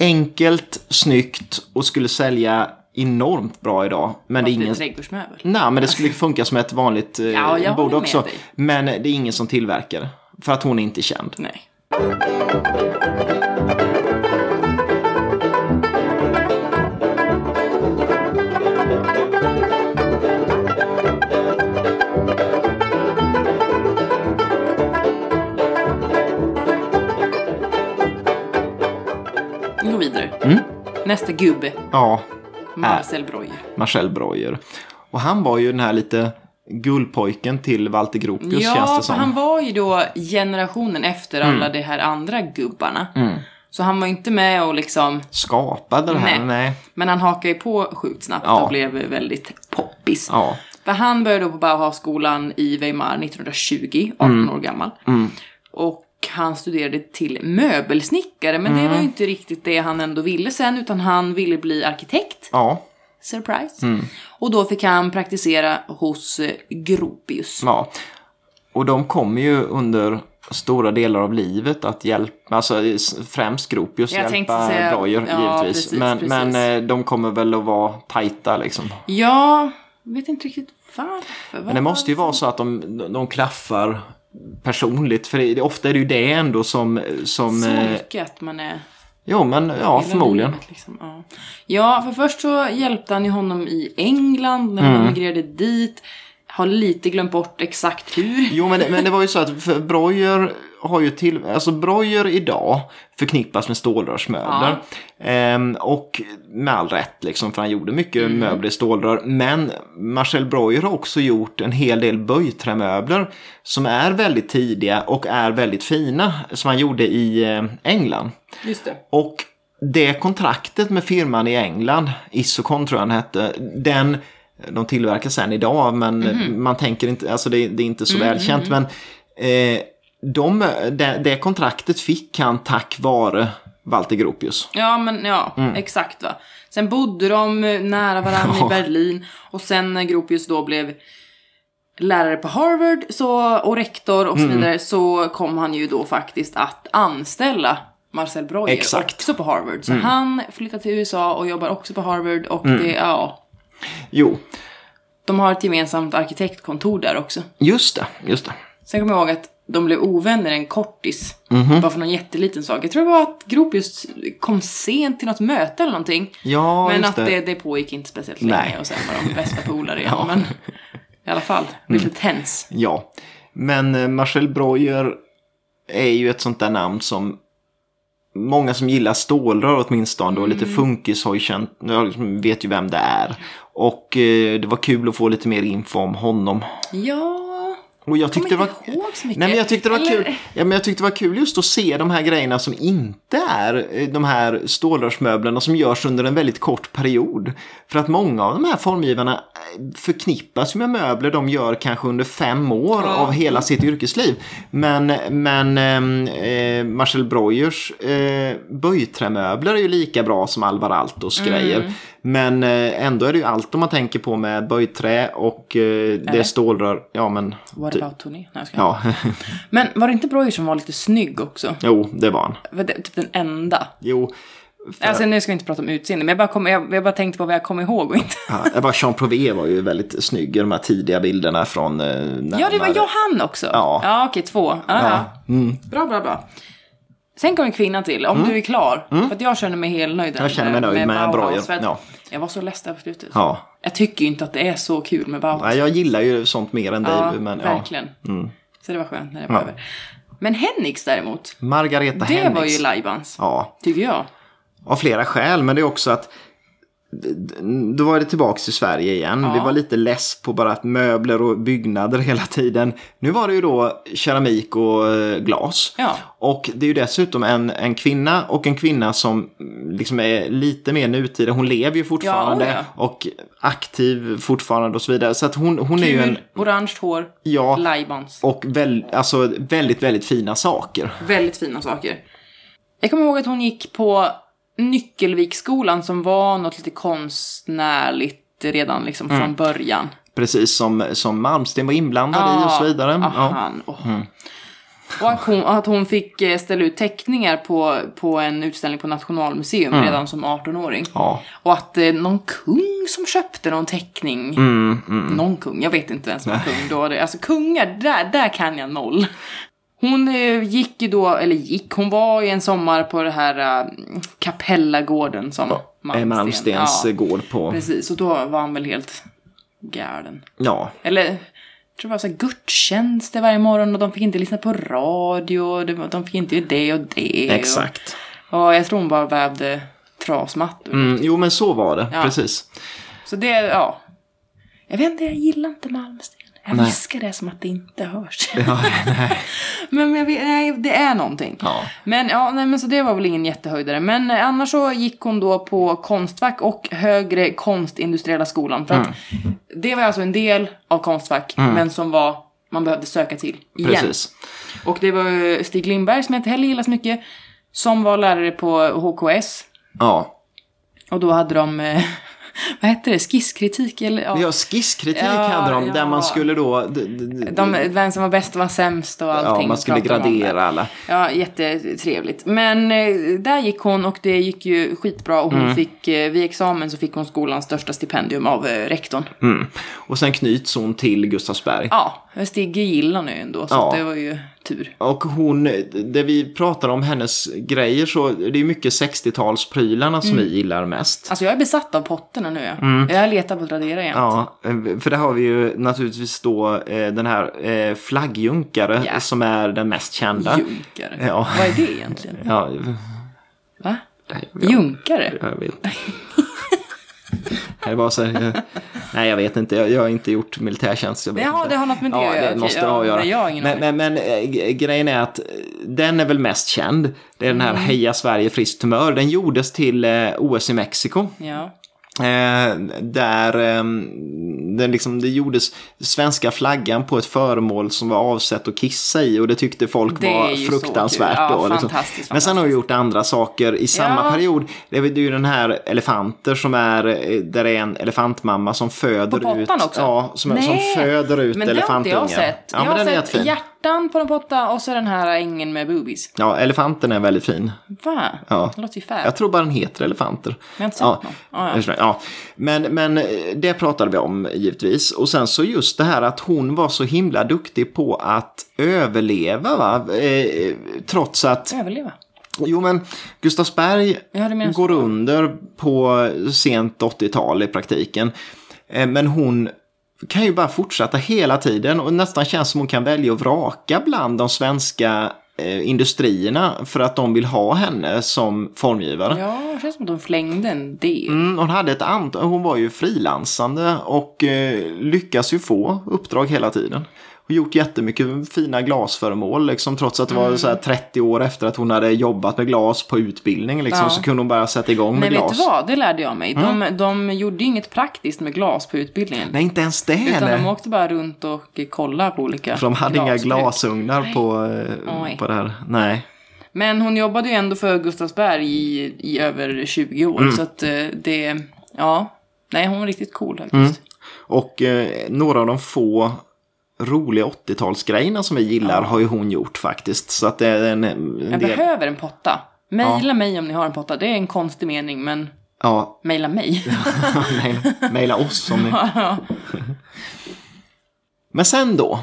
A: enkelt, snyggt och skulle sälja enormt bra idag. Men det är
B: Fast det är
A: ingen...
B: trädgårdsmöbel.
A: Nej, men det skulle funka som ett vanligt eh,
B: Ja, jag
A: bord
B: håller med
A: också.
B: dig.
A: Men det är ingen som tillverkar det. För att hon är inte känd.
B: Nej. Vi går vidare.
A: Mm.
B: Nästa gubbe,
A: Ja,
B: Marcel Breuer.
A: Marcel Breuer. Och han var ju den här lite gullpojken till Walter Gropius känns
B: Ja,
A: det
B: för
A: som. Mm.
B: han var ju då generationen efter alla de här andra gubbarna. Så han var ju inte med och liksom
A: Skapade det här, nej.
B: Nej. Men han hakade ju på sjukt snabbt
A: Ja.
B: och blev väldigt poppis.
A: Ja.
B: För han började då på Bauhausskolan i Weimar 1920, 18
A: Mm.
B: år gammal. Och han studerade till möbelsnickare, men
A: Mm.
B: det var ju inte riktigt det han ändå ville sen, utan han ville bli arkitekt.
A: Ja,
B: Surprise.
A: Mm.
B: Och då fick han praktisera hos eh, Gropius.
A: ja. Och de kommer ju under stora delar av livet att hjälpa, alltså främst Gropius
B: Jag tänkte
A: hjälpa
B: säga-
A: Breuer
B: ja,
A: givetvis.
B: precis,
A: men,
B: precis.
A: men eh, de kommer väl att vara tajta liksom.
B: Ja, vet inte riktigt varför.
A: Men det måste ju vara så att de, de klaffar personligt. För det, ofta är det ju det ändå som... som
B: så
A: eh,
B: mycket att man är...
A: jo, men ja,
B: Hela
A: förmodligen.
B: livet, liksom. ja. ja, för först så hjälpte han ju honom i England när
A: Mm.
B: han emigrerade dit. Har lite glömt bort exakt hur.
A: Jo, men det, men det var ju så att för Breuer har ju till... Alltså Breuer idag förknippas med stålrörsmöbler. Ehm, och med all rätt liksom, för han gjorde mycket möbler i stålrör. Men Marcel Breuer har också gjort en hel del böjträmöbler som är väldigt tidiga och är väldigt fina. Som han gjorde i eh, England.
B: Just det.
A: Och det kontraktet med firman i England, Isocon tror jag den hette, den de tillverkar sen idag, men
B: Mhm.
A: man tänker inte, alltså det, det är inte så
B: Mm,
A: välkänt, men eh, de, det, det kontraktet fick han tack vare Walter Gropius.
B: Ja, men ja, exakt va. Sen bodde de eh, nära varandra
A: Mm. Ja.
B: i Berlin och sen när Gropius då blev lärare på Harvard så, och rektor och så
A: Mm.
B: vidare så kom han ju då faktiskt att anställa Marcel Breuer
A: Exakt. Mm.
B: också på Harvard. Så han flyttade till USA och jobbar också på Harvard och det, ja,
A: Jo,
B: De har ett gemensamt arkitektkontor där också.
A: just det, just det.
B: Sen kommer jag ihåg att de blev ovänner en kortis.
A: Mhm.
B: Bara för någon jätteliten sak. Jag tror det var att Grop just kom sent till något möte eller någonting.
A: Ja,
B: men
A: just
B: att det, det pågick inte speciellt
A: Nej.
B: länge och sen var de bästa
A: *laughs*
B: polare igen.
A: Ja. Mm.
B: Men i alla fall, lite tens.
A: Ja, men eh, Marcel Breuer är ju ett sånt där namn som många som gillar stålrör åtminstone och lite funkis har ju känt, ja, liksom vet ju vem det är. Och eh, det var kul att få lite mer info om honom.
B: Ja,
A: Och jag
B: jag
A: tyckte det
B: kommer
A: var...
B: inte ihåg så mycket.
A: Nej, men jag tyckte, det var
B: Eller-
A: kul. Ja, men jag tyckte det var kul just att se de här grejerna som inte är eh, de här stålrörsmöblerna som görs under en väldigt kort period. För att många av de här formgivarna eh, förknippas ju med möbler de gör kanske under fem år
B: Ja.
A: av hela sitt yrkesliv. Men, men ehm, eh, Marcel Breuers eh, böjträmöbler är ju lika bra som Alvar Aaltos
B: Mm.
A: grejer. Men eh, ändå är det ju allt om man tänker på med böjträ och eh, det är stålrör. Ja, men...
B: What
A: ty-
B: about Tony? Nej, jag skojar.
A: Ja, *laughs*
B: Men var det inte Breuer som var lite snygg också?
A: jo, det var han.
B: Var det Typ den enda.
A: Jo, för,
B: Alltså nu ska vi inte prata om utseende, men jag bara, kom, jag, jag bara tänkte på vad jag kommer ihåg och inte...
A: ja, det var Jean Prové var ju väldigt snygg i de här tidiga bilderna från... eh, när
B: Ja, det var
A: han hade-
B: Johan också.
A: Ja.
B: ja okej, två. Ja, ja. Bra, bra, bra. Sen kom en kvinna till, om du är klar. För att jag känner mig helt nöjd.
A: Mm. Jag känner mig nöjd med Breuer,
B: för att
A: ja.
B: Jag var så less där på slutet.
A: Ja.
B: Jag tycker ju inte att det är så kul med Bauhaus.
A: Nej, jag gillar ju sånt mer än
B: ja,
A: dig. Men, ja. Mm.
B: verkligen. Så det var skönt när det var över. Men Hennix däremot,
A: Margareta
B: det
A: Henriks.
B: var ju lajbans.
A: Ja,
B: Tycker jag.
A: av flera skäl, men det är också att d- d- då var det tillbaks till Sverige igen.
B: Ja.
A: Vi var lite less på bara att möbler och byggnader *laughs* hela tiden. Nu var det ju då keramik och eh, glas.
B: Ja.
A: Och det är ju dessutom en, en kvinna och en kvinna som mm, liksom är lite mer nutida. Hon lever ju fortfarande
B: Ja, oh
A: och aktiv fortfarande och så vidare. Så att hon, hon är ju en,
B: Kul, orange hår,
A: ja,
B: lajbans.
A: och väl, alltså väldigt, väldigt fina saker.
B: Väldigt fina saker. Jag kommer ihåg att hon gick på Nyckelviksskolan som var något lite konstnärligt redan liksom
A: Mm.
B: från början.
A: Precis som, som Malmsten var inblandad i och så vidare.
B: Ah,
A: Ja. Mm.
B: han, åh. Och att hon, att hon fick eh, ställa ut teckningar på, på en utställning på Nationalmuseum
A: Mm.
B: redan som 18-åring.
A: Ja.
B: Och att eh, någon kung som köpte någon teckning.
A: Mm, mm.
B: Någon kung, jag vet inte vem som var kung då. Det- Alltså kungar, där, där kan jag noll. Hon eh, gick ju då, eller gick, hon var ju en sommar på det här äh, Kapellagården som
A: Eh, Malmstens
B: Ja,
A: gård på...
B: precis, och då var han väl helt galen.
A: Ja,
B: Eller, jag tror det var så här gudstjänster varje morgon och de fick inte lyssna på radio, och det var- de fick inte göra det och det.
A: exakt.
B: Och, och jag tror hon bara vävde trasmattor.
A: Mm, jo, men så var det.
B: Ja.
A: Precis.
B: Så det, ja. Jag vet inte, jag gillar inte Malmsten. Jag
A: Nej.
B: viskar det som att det inte hörs.
A: Ja, nej.
B: *laughs* men men jag vet, nej, det är någonting.
A: Ja.
B: Men ja, nej, men så det var väl ingen jättehöjdare. Men eh, annars så gick hon då på Konstfack och Högre Konstindustriella skolan. För att
A: Mm.
B: det var alltså en del av Konstfack, men som var man behövde söka till igen.
A: Precis.
B: Och det var ju Stig Lindberg, som jag inte heller gillar så mycket, som var lärare på HKS.
A: Ja.
B: Och då hade de, eh, *laughs* vad hette det, skisskritik eller? ja.
A: ja, skisskritik
B: Ja,
A: hade de där
B: ja.
A: man skulle då... d- d-
B: De, vem som var bäst och var sämst och allting.
A: Mm. ja, man skulle
B: pratade de om
A: gradera alla.
B: det. Ja, jättetrevligt. Men eh, där gick hon och det gick ju skitbra och hon
A: Mm.
B: fick, eh, vid examen så fick hon skolans största stipendium av eh, rektorn.
A: Mm. Och sen knyts hon till Gustavsberg.
B: Ja, Stig gillar nu ändå så
A: Ja.
B: att det var ju tur.
A: Och hon, det vi pratar om hennes grejer så, det är mycket 60-talsprylarna som
B: Mm.
A: vi gillar mest.
B: Alltså jag är besatt av potterna nu. Jag,
A: Mm.
B: jag letar på Tradera igen.
A: Ja, för där har vi ju naturligtvis då eh, den här eh, flaggjunkare
B: Ja.
A: som är den mest kända.
B: Junkare.
A: Ja.
B: Vad är det egentligen?
A: Ja,
B: Va?
A: ja.
B: Junkare?
A: Jag vet. Det var så här, jag, nej, jag vet inte. Jag, jag har inte gjort militärtjänst. Jag vet
B: Jaha,
A: inte.
B: det har något med det
A: ja,
B: att
A: det
B: göra. Okej,
A: måste
B: ja,
A: det ha att göra.
B: nej, jag har ingen
A: men,
B: aning.
A: men, men eh, g- grejen är att eh, den är väl mest känd. Det är den
B: Mm.
A: här Heja Sverige friskt humör. Den gjordes till eh, OS i Mexiko.
B: Ja.
A: Eh, där eh, den liksom, det gjordes svenska flaggan på ett föremål som var avsett att kissa i och det tyckte folk
B: Det är
A: var
B: ju så
A: fruktansvärt.
B: kul. Ja,
A: då, liksom.
B: fantastiskt,
A: Men sen har du gjort andra saker i samma
B: Ja.
A: period. Det är väl- det är ju den här elefanter som är, eh, där det är en elefantmamma som föder
B: På pottan
A: ut.
B: också?
A: Ja, som, som
B: Nej,
A: föder ut
B: men det har inte
A: elefantungar.
B: jag sett.
A: Ja,
B: jag
A: men
B: har
A: den är
B: sett
A: jättefin.
B: Stjärtan på en potta och så den här ängen med boobies.
A: Ja, elefanten är väldigt fin.
B: Va?
A: Ja.
B: Det låter ju fair.
A: Jag tror bara den heter elefanter.
B: Men jag har inte sett
A: Ja.
B: någon. Ah, ja.
A: Ursäkta, Ja. Men, men eh, det pratade vi om givetvis. Och sen så just det här att hon var så himla duktig på att överleva. Va? Eh, trots att,
B: Överleva.
A: jo men Gustavsberg
B: Ja, du menar så.
A: går under på sent 80-tal i praktiken. Eh, Men hon kan ju bara fortsätta hela tiden och nästan känns som hon kan välja och vraka bland de svenska eh, industrierna för att de vill ha henne som formgivare.
B: Ja, det känns som att de flängde en del.
A: Mm, hon, hade ett ant- hon var ju frilansande och eh, lyckas ju få uppdrag hela tiden. Och gjort jättemycket fina glasföremål, liksom, trots att det var så
B: Mm.
A: här 30 år efter att hon hade jobbat med glas på utbildning. Liksom,
B: Ja.
A: Så kunde hon bara sätta igång
B: Nej,
A: med
B: vet du
A: glas. Mm.
B: vad? Det lärde jag mig. De, de gjorde ju inget praktiskt med glas på utbildningen.
A: Nej, inte ens det.
B: utan de
A: nej.
B: åkte bara runt och kollade på olika
A: För de hade inga
B: glasbruk.
A: glasugnar på,
B: Oj.
A: eh, på det här. Nej.
B: Men hon jobbade ju ändå för Gustavsberg i, i över 20 år.
A: Mm.
B: Så att eh, det, ja. Nej, hon var riktigt cool faktiskt.
A: Mm, Och eh, några av de få roliga 80-talsgrejerna som vi gillar har ju hon gjort faktiskt. Så att det är en, en
B: Jag
A: del...
B: behöver en potta. Mejla mig om ni har en potta. Det är en konstig mening, men
A: Ja,
B: mejla mig.
A: *laughs* Mejla- Mejla oss om ni... Men sen då,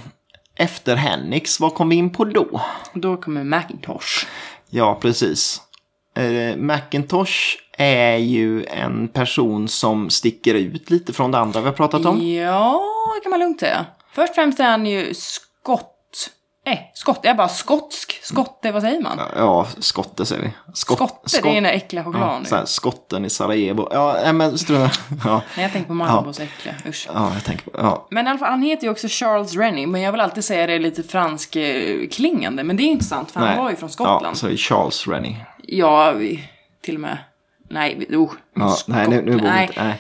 A: efter Hennix, vad kom vi in på då?
B: *laughs* Då kommer Macintosh.
A: Ja, precis. Eh, Macintosh är ju en person som sticker ut lite från det andra vi har pratat om.
B: Ja, det kan man lugnt säga. Först och främst är han ju skott. Nej, skott. Jag är bara skotsk. Skotte, vad säger man?
A: Ja, skotte säger vi. Skott-
B: Skotte,
A: skott-
B: det är den där äckliga
A: ja,
B: chokladen.
A: så här, Skotten i Sarajevo. Ja, nej, men strunt *laughs* ja,
B: Nej, jag tänker på Marabos äckliga. Usch.
A: ja, jag tänker på... Ja.
B: Men i alla fall, han heter ju också Charles Rennie, men jag vill alltid säga det lite fransk eh, klingande. Men det är intressant, för
A: nej.
B: han var ju från
A: Ja,
B: Skottland.
A: så är Charles Rennie.
B: Ja, vi, till och med. Nej, vi- oh,
A: Ja, nej, nu, nu borde
B: Nej.
A: inte... Nej.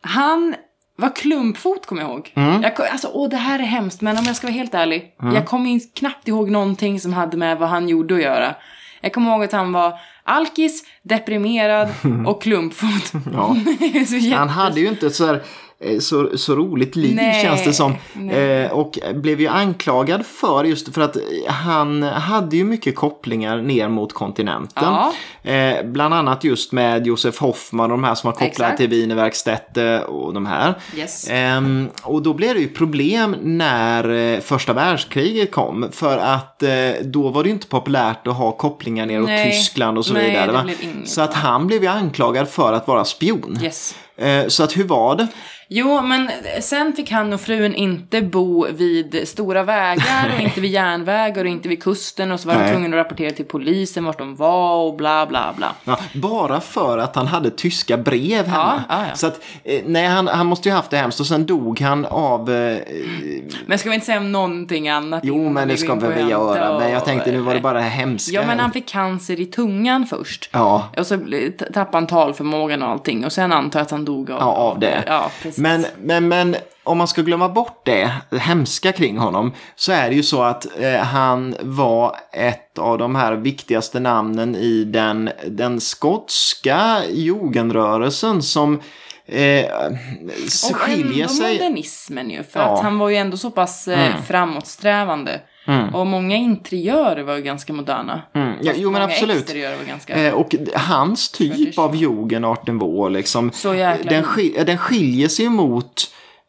B: Han var klumpfot kommer jag ihåg.
A: Mm.
B: Jag, kom- alltså, åh, det här är hemskt, men om jag ska vara helt ärlig. Jag kommer in- knappt ihåg någonting som hade med vad han gjorde att göra. Jag kommer ihåg att han var alkis,
A: *laughs*
B: deprimerad och klumpfot.
A: Ja.
B: *laughs* Det är så jätte-
A: Han hade ju inte så, här, eh, så, så roligt liv
B: Nej,
A: känns det som.
B: nej.
A: Eh, och blev ju anklagad för just för att eh, han hade ju mycket kopplingar ner mot kontinenten.
B: Ja.
A: Eh, bland annat just med Josef Hoffman och de här som har kopplingar
B: Exakt.
A: till Wienerverkstätte och de här.
B: Yes.
A: Ehm, och då blev det ju problem när eh, första världskriget kom. För att eh, då var det ju inte populärt att ha kopplingar neråt
B: Nej.
A: Tyskland och så
B: Nej,
A: vidare.
B: det
A: va?
B: blev inget
A: så att han blev ju anklagad för att vara spion.
B: Yes.
A: Eh, Så att hur var det?
B: Jo, men sen fick han och frun inte bo vid stora vägar och inte vid järnvägar och inte vid kusten och så var de
A: Nej.
B: tvungna att rapportera till polisen vart de var och bla bla bla.
A: Ja, bara för att han hade tyska brev hemma.
B: Ja, ja, ja.
A: Så att, eh, nej, han, han måste ju haft det hemskt och sen dog han av... Eh,
B: Men ska vi inte säga om någonting annat?
A: jo,
B: innan
A: men det
B: går
A: ska
B: in på
A: väl vi
B: Jante
A: göra.
B: och-
A: Men jag tänkte nu var det bara det hemska.
B: Ja, men han fick cancer i tungan först.
A: Ja.
B: Och så bli- t- tappade han talförmågan och allting. Och sen antar jag att han dog av,
A: Ja, av det.
B: Ja, precis.
A: Men, men, men om man ska glömma bort det hemska kring honom så är det ju så att eh, han var ett av de här viktigaste namnen i den, den skotska jugendrörelsen som eh, s-
B: och
A: skiljer
B: ändå
A: sig.
B: modernismen ju. För
A: Ja. Mm.
B: att han var ju ändå så pass eh, framåtsträvande. Och många interiörer var ju ganska moderna.
A: Mm, ja,
B: Fast
A: Mm. jo men
B: många
A: absolut.
B: exteriörer var ganska...
A: Eh, och d- hans typ
B: Tradition.
A: av jugend, Art Nouveau, liksom.
B: Så jäkla
A: Den,
B: in.
A: skil- eh, den skiljer sig ju mot,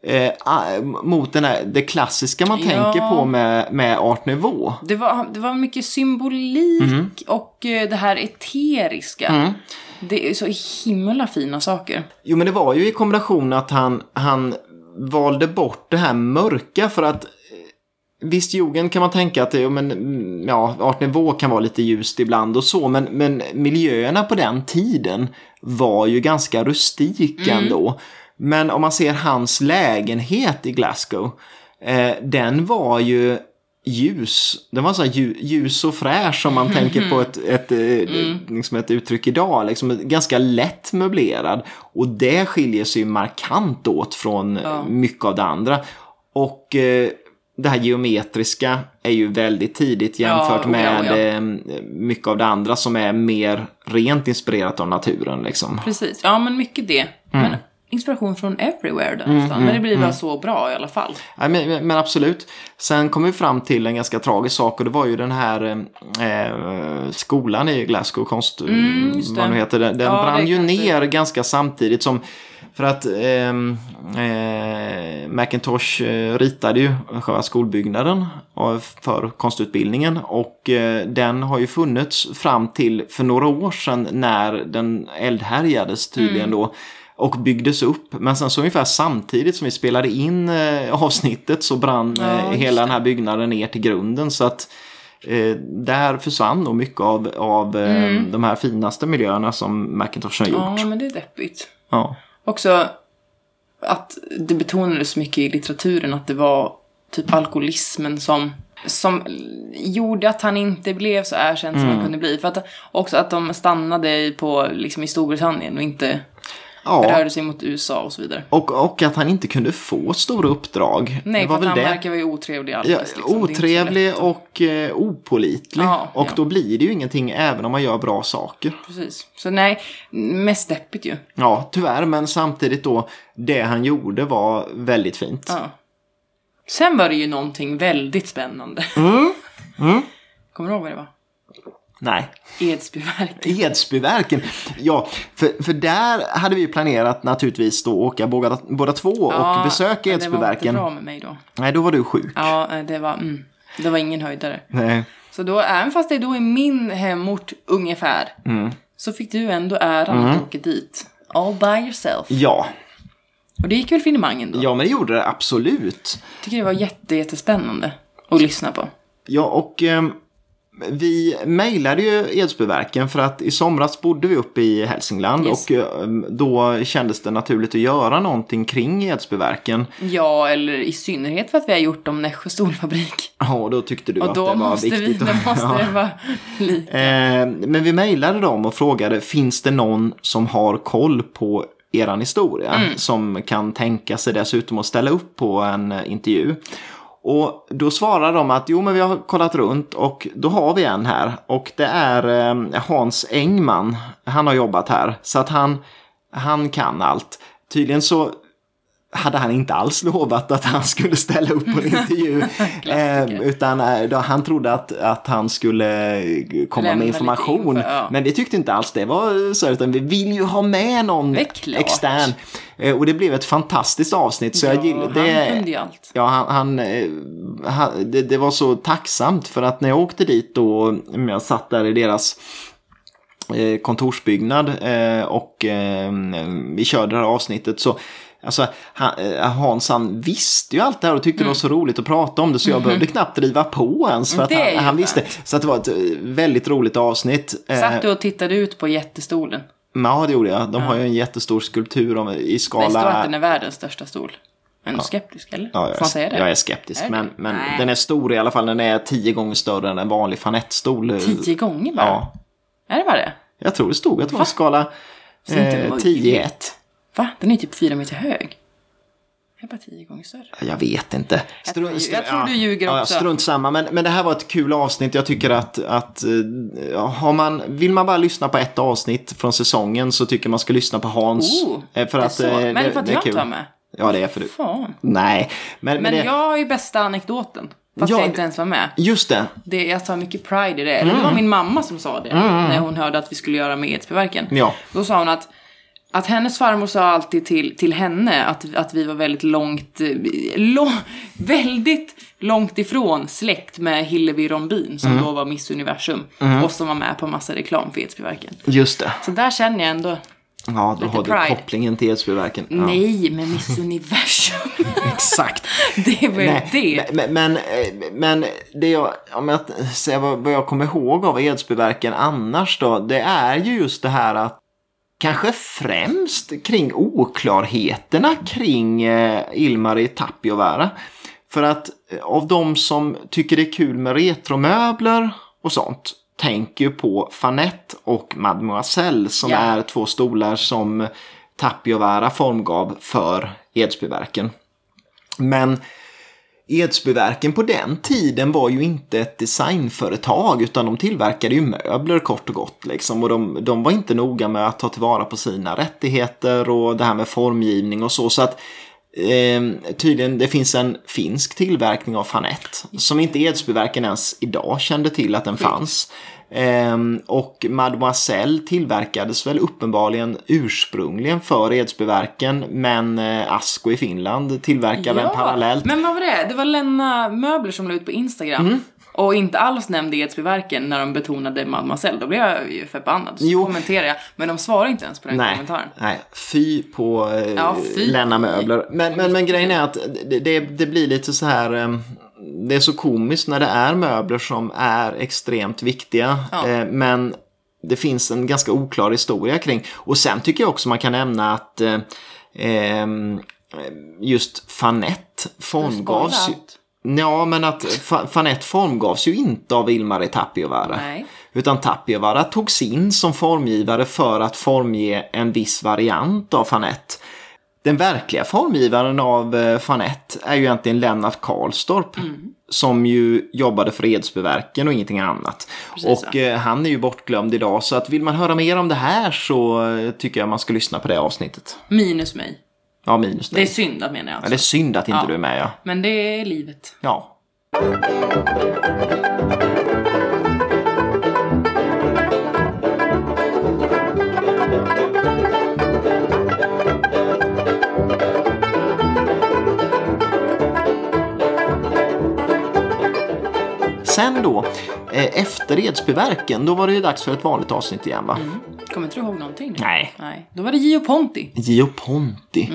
A: eh, a- mot den här, det klassiska man
B: Ja.
A: tänker på med, med Art Nouveau.
B: Det var, det var mycket symbolik
A: Mm.
B: och eh, det här eteriska. Det är så himla fina saker.
A: Jo men det var ju i kombination att han, han valde bort det här mörka för att eh, Visst, jugend kan man tänka att det- jo, men, mm, ja, art nouveau kan vara lite ljust ibland och så, men, men miljöerna på den tiden var ju ganska rustika ändå. Men om man ser hans lägenhet i Glasgow, eh, den var ju ljus. Den var så här lju- ljus och fräsch om man tänker på ett, ett, eh, liksom ett uttryck idag. Liksom ganska lätt möblerad. Och det skiljer sig ju markant åt från eh,
B: Ja.
A: mycket av det andra. Och eh, det här geometriska är ju väldigt tidigt jämfört
B: Ja, oh ja,
A: med
B: oh ja.
A: eh, mycket av det andra som är mer rent inspirerat av naturen. Liksom. Mm.
B: Precis, ja men mycket det. Men inspiration från everywhere där nästan. Men det blir bara så bra i alla fall.
A: Nej, men, men- men absolut. Sen kom vi fram till en ganska tragisk sak och det var ju den här eh, skolan i Glasgow, konst...
B: Mm, just det.
A: vad nu heter den den
B: Ja,
A: brann
B: det
A: ju
B: kan du-
A: ner ganska samtidigt som... För att ehm, eh, Macintosh eh, ritade ju själva skolbyggnaden av- för konstutbildningen och eh, den har ju funnits fram till för några år sedan när den eldhärjades
B: Mm.
A: tydligen då och byggdes upp. Men sen så ungefär samtidigt som vi spelade in eh, avsnittet så brann
B: Ja,
A: eh,
B: just
A: hela den här byggnaden ner till grunden. så att eh, där försvann nog mycket av, av eh, de här finaste miljöerna som Macintosh har gjort.
B: Mm. Ja, men det är deppigt.
A: Ja.
B: Också att det betonades mycket i litteraturen att det var typ alkoholismen som, som gjorde att han inte blev så erkänd
A: Mm.
B: som han kunde bli. För att också att de stannade i- på, liksom, i Storbritannien och inte
A: Ja.
B: rörde sig mot USA och så vidare.
A: Och, och att han inte kunde få stora uppdrag.
B: Nej,
A: det
B: för
A: var
B: att han
A: väl det.
B: verkar vara otrevlig alldeles.
A: Ja,
B: liksom. Det är inte så lätt.
A: otrevlig och eh, opolitlig.
B: Ja,
A: och
B: ja.
A: då blir det ju ingenting även om man gör bra saker.
B: Precis. Så nej, mest deppigt ju.
A: Ja, tyvärr, men samtidigt då, det han gjorde var väldigt fint.
B: Ja. Sen var det ju någonting väldigt spännande. Kommer du ihåg vad det var?
A: Mm. Nej.
B: Edsbyverk.
A: Edsbyverken. Ja, för, för där hade vi ju planerat naturligtvis då åka båda, båda två och besöka
B: men
A: Edsbyverken.
B: Det var inte bra med mig då.
A: Nej, då var du sjuk. Eh,
B: Ja, eh, det var, mm, det var ingen höjdare.
A: Nej.
B: Så då, även fast det då är min hemort ungefär,
A: Mm.
B: så fick du ändå äran att åka dit. All by yourself.
A: Ja.
B: Och det gick väl finemangen då?
A: ja, men det gjorde det absolut.
B: Tycker det var jätte, jättespännande att lyssna på.
A: Ja, och ehm, vi mejlade ju Edsbyverken för att i somras bodde vi uppe i Hälsingland
B: Yes.
A: och ehm, då kändes det naturligt att göra någonting kring Edsbyverken.
B: Ja, eller i synnerhet för att vi har gjort om Nässjö stolfabrik.
A: Ja, och då tyckte du
B: Och
A: att
B: då
A: det var
B: måste vi,
A: viktigt.
B: då
A: att-
B: måste
A: *laughs* Ja.
B: det vara lite.
A: Eh, Men vi mejlade dem och frågade, finns det någon som har koll på eran historia? Som kan tänka sig dessutom att ställa upp på en eh, intervju. Och då svarar de att jo men vi har kollat runt och då har vi en här. Och det är eh, Hans Engman. Han har jobbat här. Så att han, han kan allt. Tydligen så hade han inte alls lovat att han skulle ställa upp på en intervju. eh, utan eh, då, han trodde att, att han skulle eh, komma
B: Lämna
A: med
B: lite
A: information.
B: info, ja.
A: Men vi tyckte inte alls det var så, utan vi vill ju ha med någon
B: Det är klart.
A: extern. Eh, och det blev ett fantastiskt avsnitt. Så jag gillar, det,
B: Han kunde ju allt.
A: Ja, han, han, eh, han, det, det var så tacksamt för att när jag åkte dit då, mm, jag satt där i deras eh, kontorsbyggnad eh, och eh, vi körde det här avsnittet så Alltså, han, eh, Hans han visste ju allt det här och tyckte det var så roligt att prata om det så jag behövde knappt driva på ens för att
B: Mm. Mm-hmm. Det är ju
A: han, han
B: skönt.
A: visste. Så att det var ett eh, väldigt roligt avsnitt. Eh,
B: Satt du och tittade ut på jättestolen?
A: Ja, det gjorde jag. De har ju en jättestor skulptur om, i skala...
B: Det står att den är världens största stol. Men du är skeptisk eller?
A: Ja,
B: Får
A: jag,
B: man säga
A: jag
B: det?
A: är skeptisk.
B: Är du?
A: men men
B: Nej.
A: den är stor i alla fall. Den är tio gånger större än en vanlig fanettstol.
B: Tio gånger bara?
A: Ja,
B: Är det bara det?
A: jag tror det stod att det var skala
B: är inte
A: eh,
B: möjligt.
A: 10 1.
B: Va? Den är typ fyra meter hög. Det är bara tio gånger större.
A: Jag vet inte.
B: Jag tror- jag tror du ljuger
A: ja,
B: också.
A: Strunt samma. Men, men det här var ett kul avsnitt. Jag tycker att, att eh, har man, vill man bara lyssna på ett avsnitt från säsongen så tycker man ska lyssna på Hans.
B: Oh,
A: Eh, för
B: det är
A: att,
B: så.
A: eh,
B: Men
A: det-
B: för att
A: det är
B: jag inte
A: kul.
B: var med.
A: Ja, det är för du.
B: Fan.
A: Nej, men,
B: Men
A: men det,
B: jag har ju bästa anekdoten. Fast
A: Ja,
B: jag inte
A: det-
B: ens var med.
A: just det.
B: Det, jag tar mycket pride i det. Eller det
A: Mm.
B: var min mamma som sa det. När hon hörde att vi skulle göra med Edsbyverken.
A: Ja.
B: Då sa hon att, att hennes farmor sa alltid till, till henne att, att vi var väldigt långt, eh, lång, *laughs* väldigt långt ifrån släkt med Hillevi Rombin
A: Mm.
B: som då var Miss Universum. Och som var med på massa reklam för Edsbyverken.
A: Just det.
B: Så där känner jag ändå,
A: Ja, då har du
B: pride. Mm.
A: kopplingen till Edsbyverken. Ja.
B: nej men Miss Universum.
A: *laughs* Exakt.
B: *laughs* det är väl det.
A: Men, men, eh, men det jag, om jag säger vad, vad jag kommer ihåg av Edsbyverken annars då, det är ju just det här att Kanske främst kring oklarheterna kring eh, Ilmari Tapiovaara. För att eh, av de som tycker det är kul med retromöbler och sånt tänker ju på Fanette och Mademoiselle som
B: Ja.
A: är två stolar som Tapiovaara formgav för Edsbyverken. Men Edsbyverken på den tiden var ju inte ett designföretag utan de tillverkade ju möbler kort och gott. Liksom. Och de, de var inte noga med att ta tillvara på sina rättigheter och det här med formgivning och så. så att eh, Tydligen det finns en finsk tillverkning av fanett som inte Edsbyverken ens idag kände till att den fanns. Ehm, och Mademoiselle tillverkades väl uppenbarligen ursprungligen för Edsbyverken men eh, Asko i Finland tillverkade den parallellt. Mm.
B: Men vad var det? Det var Lena Möbler som la ut på Instagram. Och inte alls nämnde Edsbyverken när de betonade Mademoiselle. Då blev jag ju förbannad. Så
A: Jo.
B: kommenterade jag. Men de svarade inte ens på den
A: Nej,
B: kommentaren.
A: nej, fy på eh,
B: Ja, fy.
A: Lena Möbler. Men, men, men grejen är att det, det, det blir lite så här, eh, det är så komiskt när det är möbler som är extremt viktiga.
B: Ja.
A: eh, Men det finns en ganska oklar historia kring. Och sen tycker jag också man kan nämna att eh, ehm, just Fanett formgavs ju.
B: Skålat.
A: Ja, men att Fa- Fanett formgavs ju inte av Ilmari Tapiovaara.
B: Nej.
A: Utan Tapiovaara togs in som formgivare för att formge en viss variant av Fanett. Den verkliga formgivaren av eh, Fanett är ju egentligen Lennart Karlstorp.
B: Mm.
A: Som ju jobbade för Edsbyverken och ingenting annat.
B: Precis,
A: och eh, han är ju bortglömd idag så att vill man höra mer om det här så eh, tycker jag man ska lyssna på det avsnittet.
B: Minus mig.
A: Ja, minus det.
B: Det är syndat menar jag.
A: Ja, det är
B: Alltså.
A: synd att inte
B: Ja.
A: du är med ja.
B: Men det är livet.
A: ja. Sen då, eh, efter Edsbyverken, då var det ju dags för ett vanligt avsnitt igen va?
B: Kommer inte du ihåg någonting? nu?
A: Nej.
B: Nej. Då var det Gio Ponti.
A: Gio Ponti.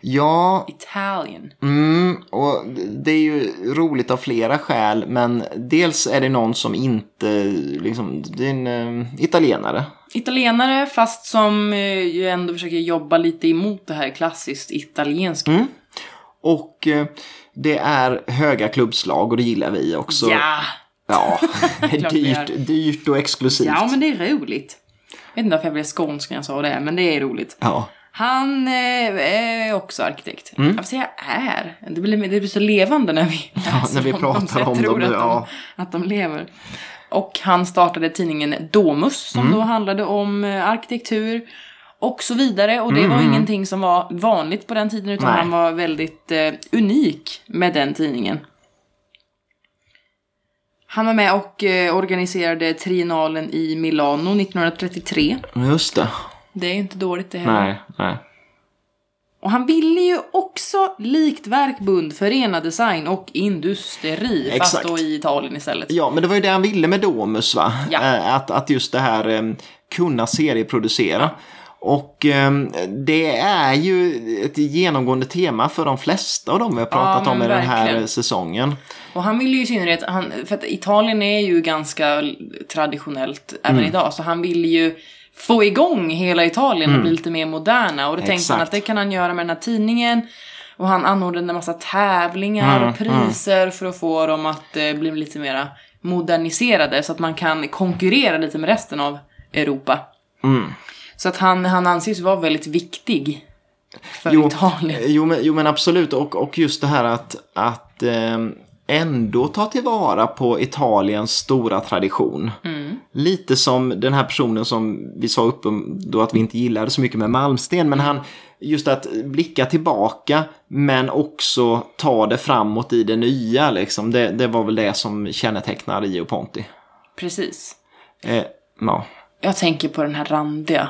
A: Ja,
B: Italien.
A: Mm, och det är ju roligt av flera skäl, men dels är det någon som inte, liksom, det är en eh, italienare.
B: Italienare fast som eh, ju ändå försöker jobba lite emot det här klassiskt italienska.
A: Mm. Och eh, det är höga klubbslag och det gillar vi också.
B: Ja!
A: Ja, det är
B: *laughs* Klart vi gör.
A: dyrt, dyrt och exklusivt.
B: Ja men det är roligt. Jag vet inte varför jag blev skånsk när jag sa det, men det är roligt.
A: Ja.
B: Han eh, är också arkitekt. Jag vill säga är. Det blir, det blir så levande när
A: *laughs*
B: vi, läser
A: Mm. när vi
B: om
A: pratar
B: dem, så jag
A: om
B: tror
A: dem,
B: Att,
A: ja.
B: de, att de lever. Och han startade tidningen Domus som
A: Mm.
B: då handlade om eh, arkitektur och så vidare. Och det var ingenting som var vanligt på den tiden utan
A: Mm, Nej.
B: han var väldigt eh, unik med den tidningen. Han var med och eh, organiserade triennalen i Milano 1933.
A: Just det.
B: Det är ju inte dåligt det heller.
A: Nej, nej.
B: Och han ville ju också likt Verkbund förena design och industri, fast
A: Exakt.
B: då i Italien istället.
A: Ja, men det var ju det han ville med Domus, va?
B: Ja.
A: Eh, Att, att just det här eh, kunna serieproducera. Och eh, det är ju ett genomgående tema för de flesta av dem vi har pratat
B: Ja,
A: om i
B: men
A: den här
B: verkligen.
A: säsongen.
B: Och han ville ju i synnerhet, han, för att Italien är ju ganska l- traditionellt även
A: Mm.
B: idag, så han ville ju få igång hela Italien och bli lite mer moderna. Och då tänkte han
A: Mm. Exakt.
B: att det kan han göra med den här tidningen. Och han anordnade en massa tävlingar och
A: Mm,
B: priser för att få dem att eh, bli lite mera moderniserade så att man kan konkurrera lite med resten av Europa.
A: Mm.
B: Så att han, han anses vara väldigt viktig för *laughs* Italien.
A: Jo, men, jo men absolut och, och just det här att, att eh, ändå ta tillvara på Italiens stora tradition. Lite som den här personen som vi sa upp om då att vi inte gillade så mycket med Malmsten men han just att blicka tillbaka men också ta det framåt i det nya liksom. Det, det var väl det som kännetecknar Rio Ponti.
B: Precis.
A: Eh, ja.
B: Jag tänker på den här randiga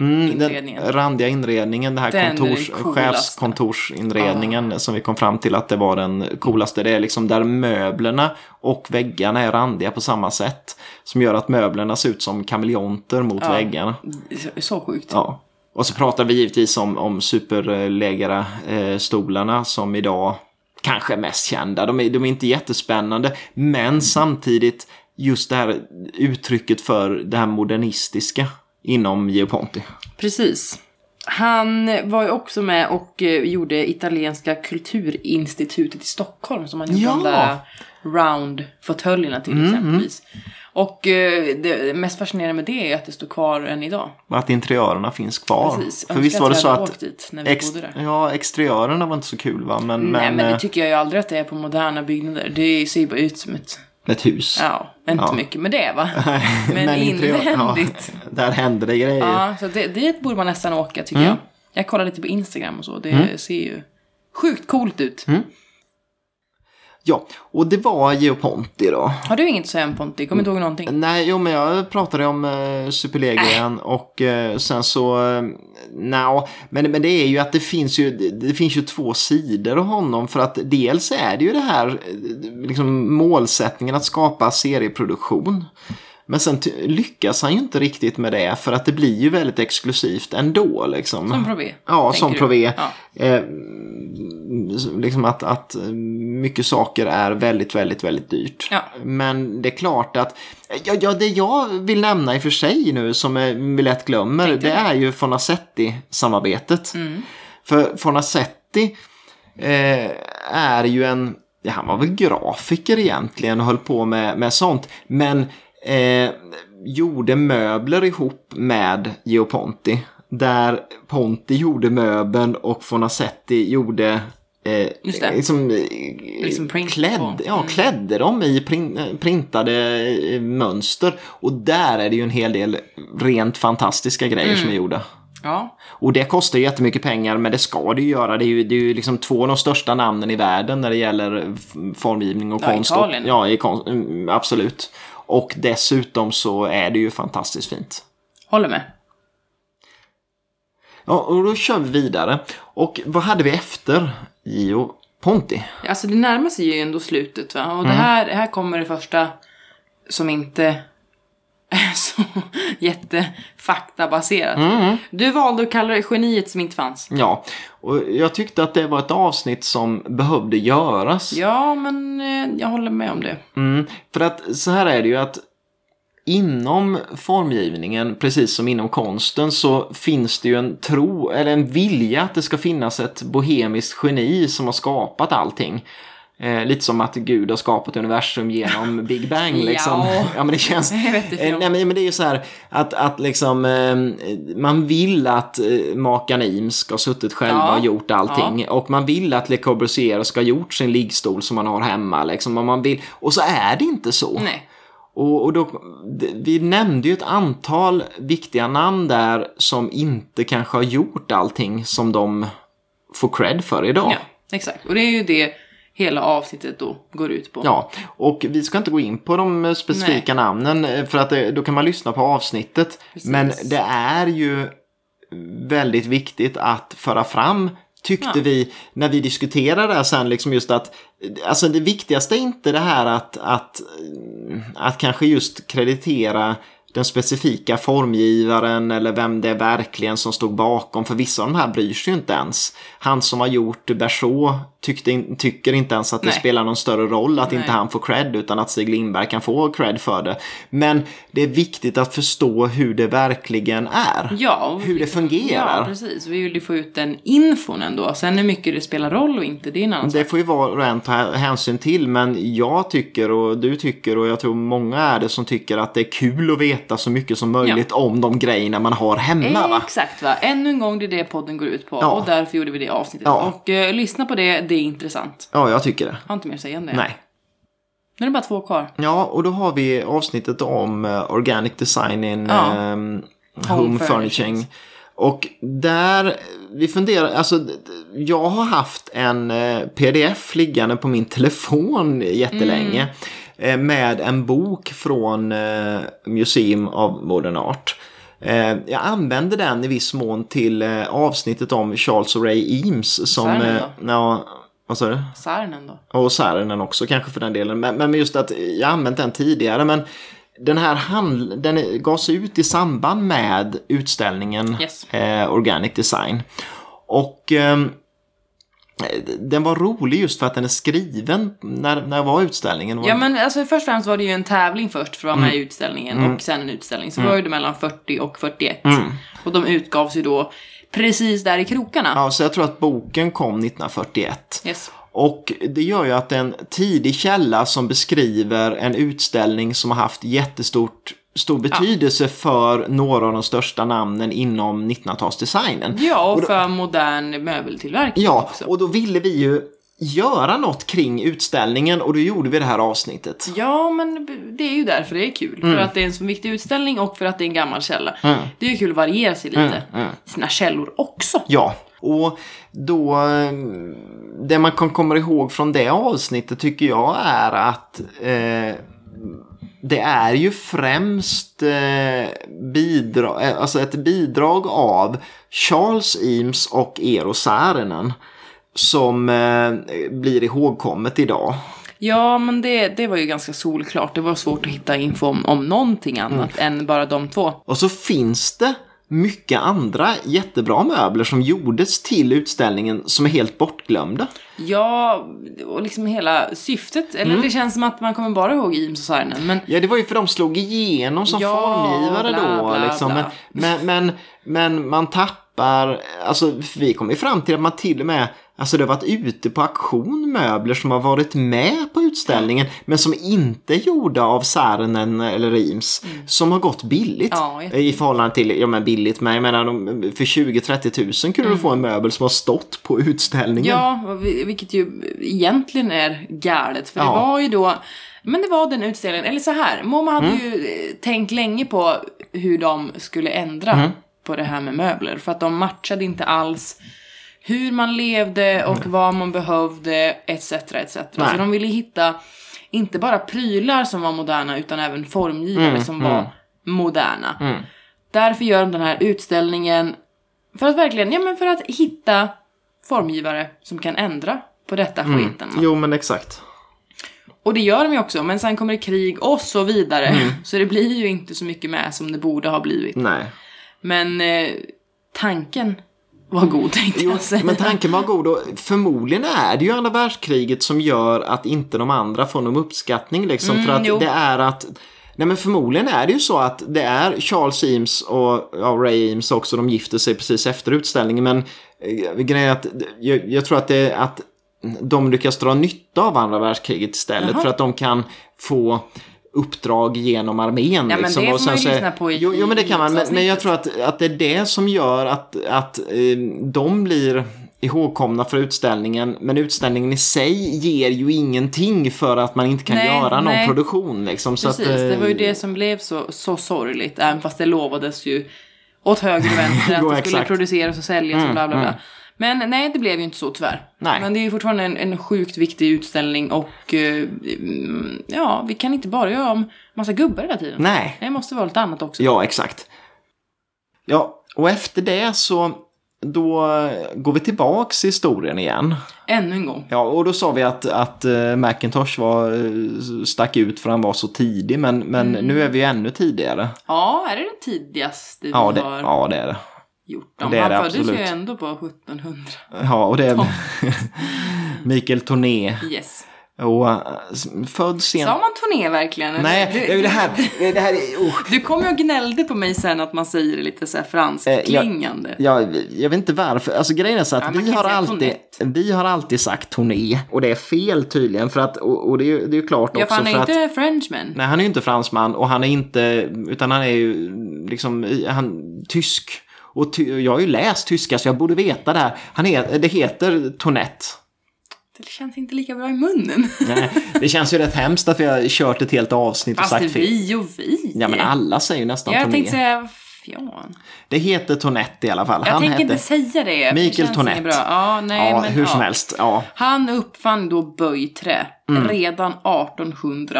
A: Mm,
B: Inredningen.
A: Den randiga inredningen, den här
B: Den är den
A: kontors,
B: coolaste.
A: chefskontorsinredningen som vi kom fram till att det var den coolaste. Det är liksom där möblerna och väggarna är randiga på samma sätt. Som gör att möblerna ser ut som kameleonter mot väggarna.
B: Så- Så sjukt.
A: Ja. Och så pratar vi givetvis om, om superlägare eh, stolarna som idag kanske är mest kända. De är, de är inte jättespännande men samtidigt just det här uttrycket för det här modernistiska inom Geoponti.
B: Precis. Han var ju också med och eh, gjorde Italienska kulturinstitutet i Stockholm som han gjorde
A: Ja. Mm,
B: de där round-fåtöljerna till exempelvis. Och eh, det mest fascinerande med det är att det står kvar än idag.
A: Och Att interiörerna finns kvar.
B: Precis.
A: För visst var det så att
B: Dit när vi
A: ex-
B: bodde där.
A: ja, exteriörerna var inte så kul va? Men,
B: Nej men
A: eh,
B: det tycker jag ju aldrig att det är på moderna byggnader. Det ser ju bara ut som ett...
A: ett hus.
B: Ja, inte
A: Ja.
B: mycket med det va?
A: *laughs* Men interiör-
B: invändigt.
A: Ja, där hände det grejer.
B: Ja, så det, dit borde man nästan åka tycker jag. Jag kollar lite på Instagram och så. Det ser ju sjukt coolt ut.
A: Ja, och det var Geoponti då.
B: Har du inget att säga om Ponti? Kommer inte ihåg någonting?
A: Nej, jo men jag pratade ju om eh,
B: Äh.
A: superlegian och eh, sen så, eh, nja, men, men det är ju att det finns ju, det, det finns ju två sidor av honom för att dels är det ju det här eh, liksom målsättningen att skapa serieproduktion. Men sen ty- lyckas han ju inte riktigt med det för att det blir ju väldigt exklusivt ändå liksom.
B: Som Prové?
A: Ja,
B: tänker
A: som
B: du?
A: Prové.
B: Ja.
A: Eh, liksom att, att mycket saker är väldigt, väldigt, väldigt dyrt.
B: Ja.
A: Men det är klart att, ja, ja, det jag vill nämna i och för sig nu som eh, vi lätt glömmer, det är ju Fonacetti-samarbetet.
B: Mm.
A: För Fonacetti eh, är ju en, ja, han var väl grafiker egentligen och höll på med, med sånt, men eh, gjorde möbler ihop med Geoponti. Där Ponti gjorde möbeln och Fonacetti gjorde eh,
B: Just det.
A: liksom, eh,
B: Liksom print
A: klädd,
B: på.
A: ja, klädde dem i prin, eh, printade eh, mönster. Och där är det ju en hel del rent fantastiska grejer som är
B: Mm.
A: gjorda.
B: Ja.
A: Och det kostar ju jättemycket pengar, men det ska det ju göra. Det är ju, det är ju liksom två av de största namnen i världen när det gäller f- formgivning och
B: Ja,
A: konst.
B: Italien.
A: Och, ja, i konst, mm, absolut. Och dessutom så är det ju fantastiskt fint.
B: Håller med.
A: Ja, och då kör vi vidare. Och vad hade vi efter Gio Ponti?
B: Alltså det närmar sig ju ändå slutet va? Och det här, här kommer det första som inte är *laughs* så jättefaktabaserat. Du valde att kalla det geniet som inte fanns.
A: Ja, och jag tyckte att det var ett avsnitt som behövde göras.
B: Ja, men eh, jag håller med om det.
A: Mm, för att så här är det ju att inom formgivningen, precis som inom konsten, så finns det ju en tro eller en vilja att det ska finnas ett bohemiskt geni som har skapat allting. Eh, lite som att Gud har skapat universum
B: *laughs*
A: genom Big Bang. Liksom.
B: Ja.
A: ja, men det känns...
B: Jag vet inte.
A: Eh, nej, men men det är ju så här att, att liksom, eh, man vill att eh, makarna Eames ska ha suttit själva
B: Ja.
A: och gjort allting. Och man vill att Le Corbusier ska ha gjort sin liggstol som man har hemma. Liksom, och, man vill, och så är det inte så.
B: Nej.
A: Och, och då, d- vi nämnde ju ett antal viktiga namn där som inte kanske har gjort allting som de får cred för idag.
B: Ja, exakt. Och det är ju det hela avsnittet då går ut på.
A: Ja, och vi ska inte gå in på de eh, specifika namnen eh, för att det, då kan man lyssna på avsnittet.
B: Precis.
A: Men det är ju väldigt viktigt att föra fram tyckte
B: Ja.
A: vi när vi diskuterade det här sen liksom just att eh, alltså det viktigaste är inte det här att, att, eh, att kanske just kreditera den specifika formgivaren eller vem det är verkligen som stod bakom. För vissa av de här bryr sig ju inte ens. Han som har gjort Berså tyckte, in- tycker inte ens att det
B: Nej.
A: spelar spelar någon större roll att inte
B: Nej.
A: han får cred utan att Stig Lindberg kan få cred för det. Men det är viktigt att förstå hur det verkligen är.
B: Ja, och-
A: Hur det fungerar.
B: Ja, precis. Vi vill ju få ut den infon ändå. Sen hur mycket det spelar roll och inte, det är en annan sak.
A: Det får ju var och en ta hänsyn till men jag tycker och du tycker och jag tror många är det som tycker att det är kul att veta så mycket som möjligt om de grejerna man har hemma. Va?
B: Exakt va. Ännu en gång, det är det podden går ut på.
A: Ja.
B: Och därför gjorde vi det avsnittet.
A: Ja.
B: Och eh, lyssna på det, det är intressant.
A: Ja, jag tycker det.
B: Jag har inte mer att säga än det.
A: Nej.
B: Nu är det bara två kvar.
A: Ja, och då har vi avsnittet om eh, organic design in
B: Ja.
A: ehm, home,
B: Home
A: furnishing.
B: furnishings.
A: Och där, eh, vi funderar, alltså d- d- jag har haft en eh, pdf liggande på min telefon jättelänge.
B: Mm.
A: eh, Med en bok från eh, Museum of Modern Art. Eh, Jag använde den i viss mån till eh, avsnittet om Charles och Ray Eames. Som,
B: Särnen
A: eh, ja, vad sa du?
B: Sarnen då?
A: Och Särenen också kanske för den delen. Men, men just att jag har använt den tidigare. Men den här handl- den gavs ut i samband med utställningen
B: Yes.
A: eh, Organic Design. Och ehm, den var rolig just för att den är skriven när, när jag var i utställningen.
B: Ja men alltså först och främst var det ju en tävling först för att vara
A: Mm.
B: med i utställningen och sen en utställning. Så var ju det mellan 40 och 41.
A: Mm.
B: Och de utgavs ju då precis där i krokarna.
A: ja, så jag tror att boken kom 1941.
B: Yes.
A: Och det gör ju att en tidig källa som beskriver en utställning som har haft jättestort stor betydelse för några av de största namnen inom 1900-talsdesignen.
B: Ja,
A: Och
B: och
A: då-
B: för modern möbeltillverkning
A: Ja,
B: också.
A: och då ville vi ju göra något kring utställningen och då gjorde vi det här avsnittet.
B: Ja, men det är ju därför det är kul. För att det är en så viktig utställning och för att det är en gammal källa. Det är ju kul att variera sig lite. i Sina källor också.
A: Ja, och då eh, det man kan komma ihåg från det avsnittet tycker jag är att eh, det är ju främst eh, bidra- eh, alltså ett bidrag av Charles Eames och Eero Saarinen som eh, blir ihågkommet idag.
B: Ja, men det, det var ju ganska solklart. Det var svårt att hitta info om, om någonting annat än bara de två.
A: Och så finns det mycket andra jättebra möbler som gjordes till utställningen som är helt bortglömda.
B: Ja, och liksom hela syftet. Eller det känns som att man kommer bara ihåg Eames och Saarinen. Men
A: Ja, det var ju för de slog igenom som
B: Ja,
A: formgivare
B: bla,
A: då.
B: bla,
A: liksom.
B: bla.
A: Men, men, men, men man tappar, alltså vi kom ju fram till att man till och med, alltså det har varit ute på auktion möbler som har varit med på utställningen men som inte är gjorda av Särnen eller Rims som har gått billigt.
B: Mm. Ja, jätte-
A: I förhållande till, ja men billigt, men jag menar de, för 20-30 tusen kunde du få en möbel som har stått på utställningen.
B: Mm. Ja, och vi- vilket ju egentligen är galet. För det
A: Ja.
B: var ju då, men det var den utställningen, eller så här, Momma hade
A: Mm.
B: ju eh, tänkt länge på hur de skulle ändra
A: Mm.
B: på det här med möbler. För att de matchade inte alls hur man levde och vad man behövde etc. etc.
A: Mm. Nej.
B: Så de ville hitta inte bara prylar som var moderna utan även formgivare
A: Mm,
B: som var moderna. Därför gör de den här utställningen för att verkligen, ja men för att hitta formgivare som kan ändra på detta skiten.
A: Jo men exakt.
B: Och det gör de ju också, men sen kommer det krig och så vidare. *laughs* Så det blir ju inte så mycket med som det borde ha blivit.
A: Nej.
B: Men eh, tanken var god tänkte jag säga.
A: Men tanken var god och förmodligen är det ju andra världskriget som gör att inte de andra får någon uppskattning liksom.
B: Mm,
A: för att
B: jo.
A: det är att Nej men förmodligen är det ju så att det är Charles Eames och ja, Ray Eames också, de gifter sig precis efter utställningen men eh, grejen är att jag, jag tror att det är att de lyckas dra nytta av andra världskriget istället
B: Jaha.
A: för att de kan få uppdrag genom armén. liksom, Ja,
B: men det får man ju lyssna på i-
A: jo, jo men det kan man, men, men jag
B: avsnittet.
A: tror att, att det är det som gör att, att eh, de blir ihågkomna för utställningen men utställningen i sig ger ju ingenting för att man inte kan
B: Nej,
A: göra någon
B: nej.
A: produktion liksom. Så
B: Precis,
A: att, eh,
B: det var ju det som blev så, så sorgligt. Även fast det lovades ju åt höger
A: *laughs*
B: och vänster
A: Jo,
B: att det skulle
A: exakt. Mm,
B: produceras och säljas och bla bla bla. Men nej, det blev ju inte så tyvärr.
A: Nej.
B: Men det är ju fortfarande en, en sjukt viktig utställning och eh, mm, ja, vi kan inte bara göra om massa gubbar hela tiden.
A: Nej.
B: Det måste vara lite annat också.
A: Ja, exakt. Ja, och efter det så då eh, går vi tillbaks i historien igen.
B: Ännu en gång.
A: Ja, och då sa vi att, att eh, Macintosh var, eh, stack ut för han var så tidig, men, men
B: Mm.
A: nu är vi ju ännu tidigare.
B: Ja, är det det tidigaste vi
A: Ja, det,
B: har
A: ja, det är det.
B: gjort? Om
A: det är
B: han
A: det
B: föddes ju
A: absolut.
B: ändå på 1700.
A: Ja, och det *laughs* är Mikael Torné.
B: Yes.
A: Och eh, s- född sent.
B: Sa man turné verkligen? eller?
A: Nej,
B: Du-
A: det är ju det här. Det här är, usch.
B: Du kom ju och gnällde på mig sen att man säger det lite så här franskt
A: Eh, jag-
B: klingande.
A: Jag, jag vet inte varför. Alltså grejen är så att
B: Ja, man
A: vi,
B: kan
A: har
B: säga
A: alltid,
B: tonett.
A: vi har alltid sagt turné. Och det är fel tydligen. För att, och, och det är ju det är ju klart
B: Ja, för
A: också.
B: han är
A: för att,
B: inte Frenchman.
A: nej, han är ju inte fransman och han är inte, utan han är ju liksom, i- han, tysk. Och ty, och jag har ju läst tyska så jag borde veta det här. Han är, det heter tonett.
B: Det känns inte lika bra i munnen.
A: Nej, eh, det känns ju rätt hemskt att vi har kört ett helt avsnitt och
B: *laughs* Fast det är
A: sagt fel.
B: vi och vi.
A: Ja men alla säger ju nästan
B: jag
A: turné.
B: tänkte säga fjån.
A: Det heter Tonett i alla fall.
B: Jag
A: han
B: tänker
A: hette...
B: inte säga det.
A: Mikael
B: för det känns
A: Tonett.
B: inget Bra. Ja, nej,
A: ja,
B: men,
A: hur
B: ja.
A: som helst. Ja.
B: Han uppfann då böjträ redan 1830.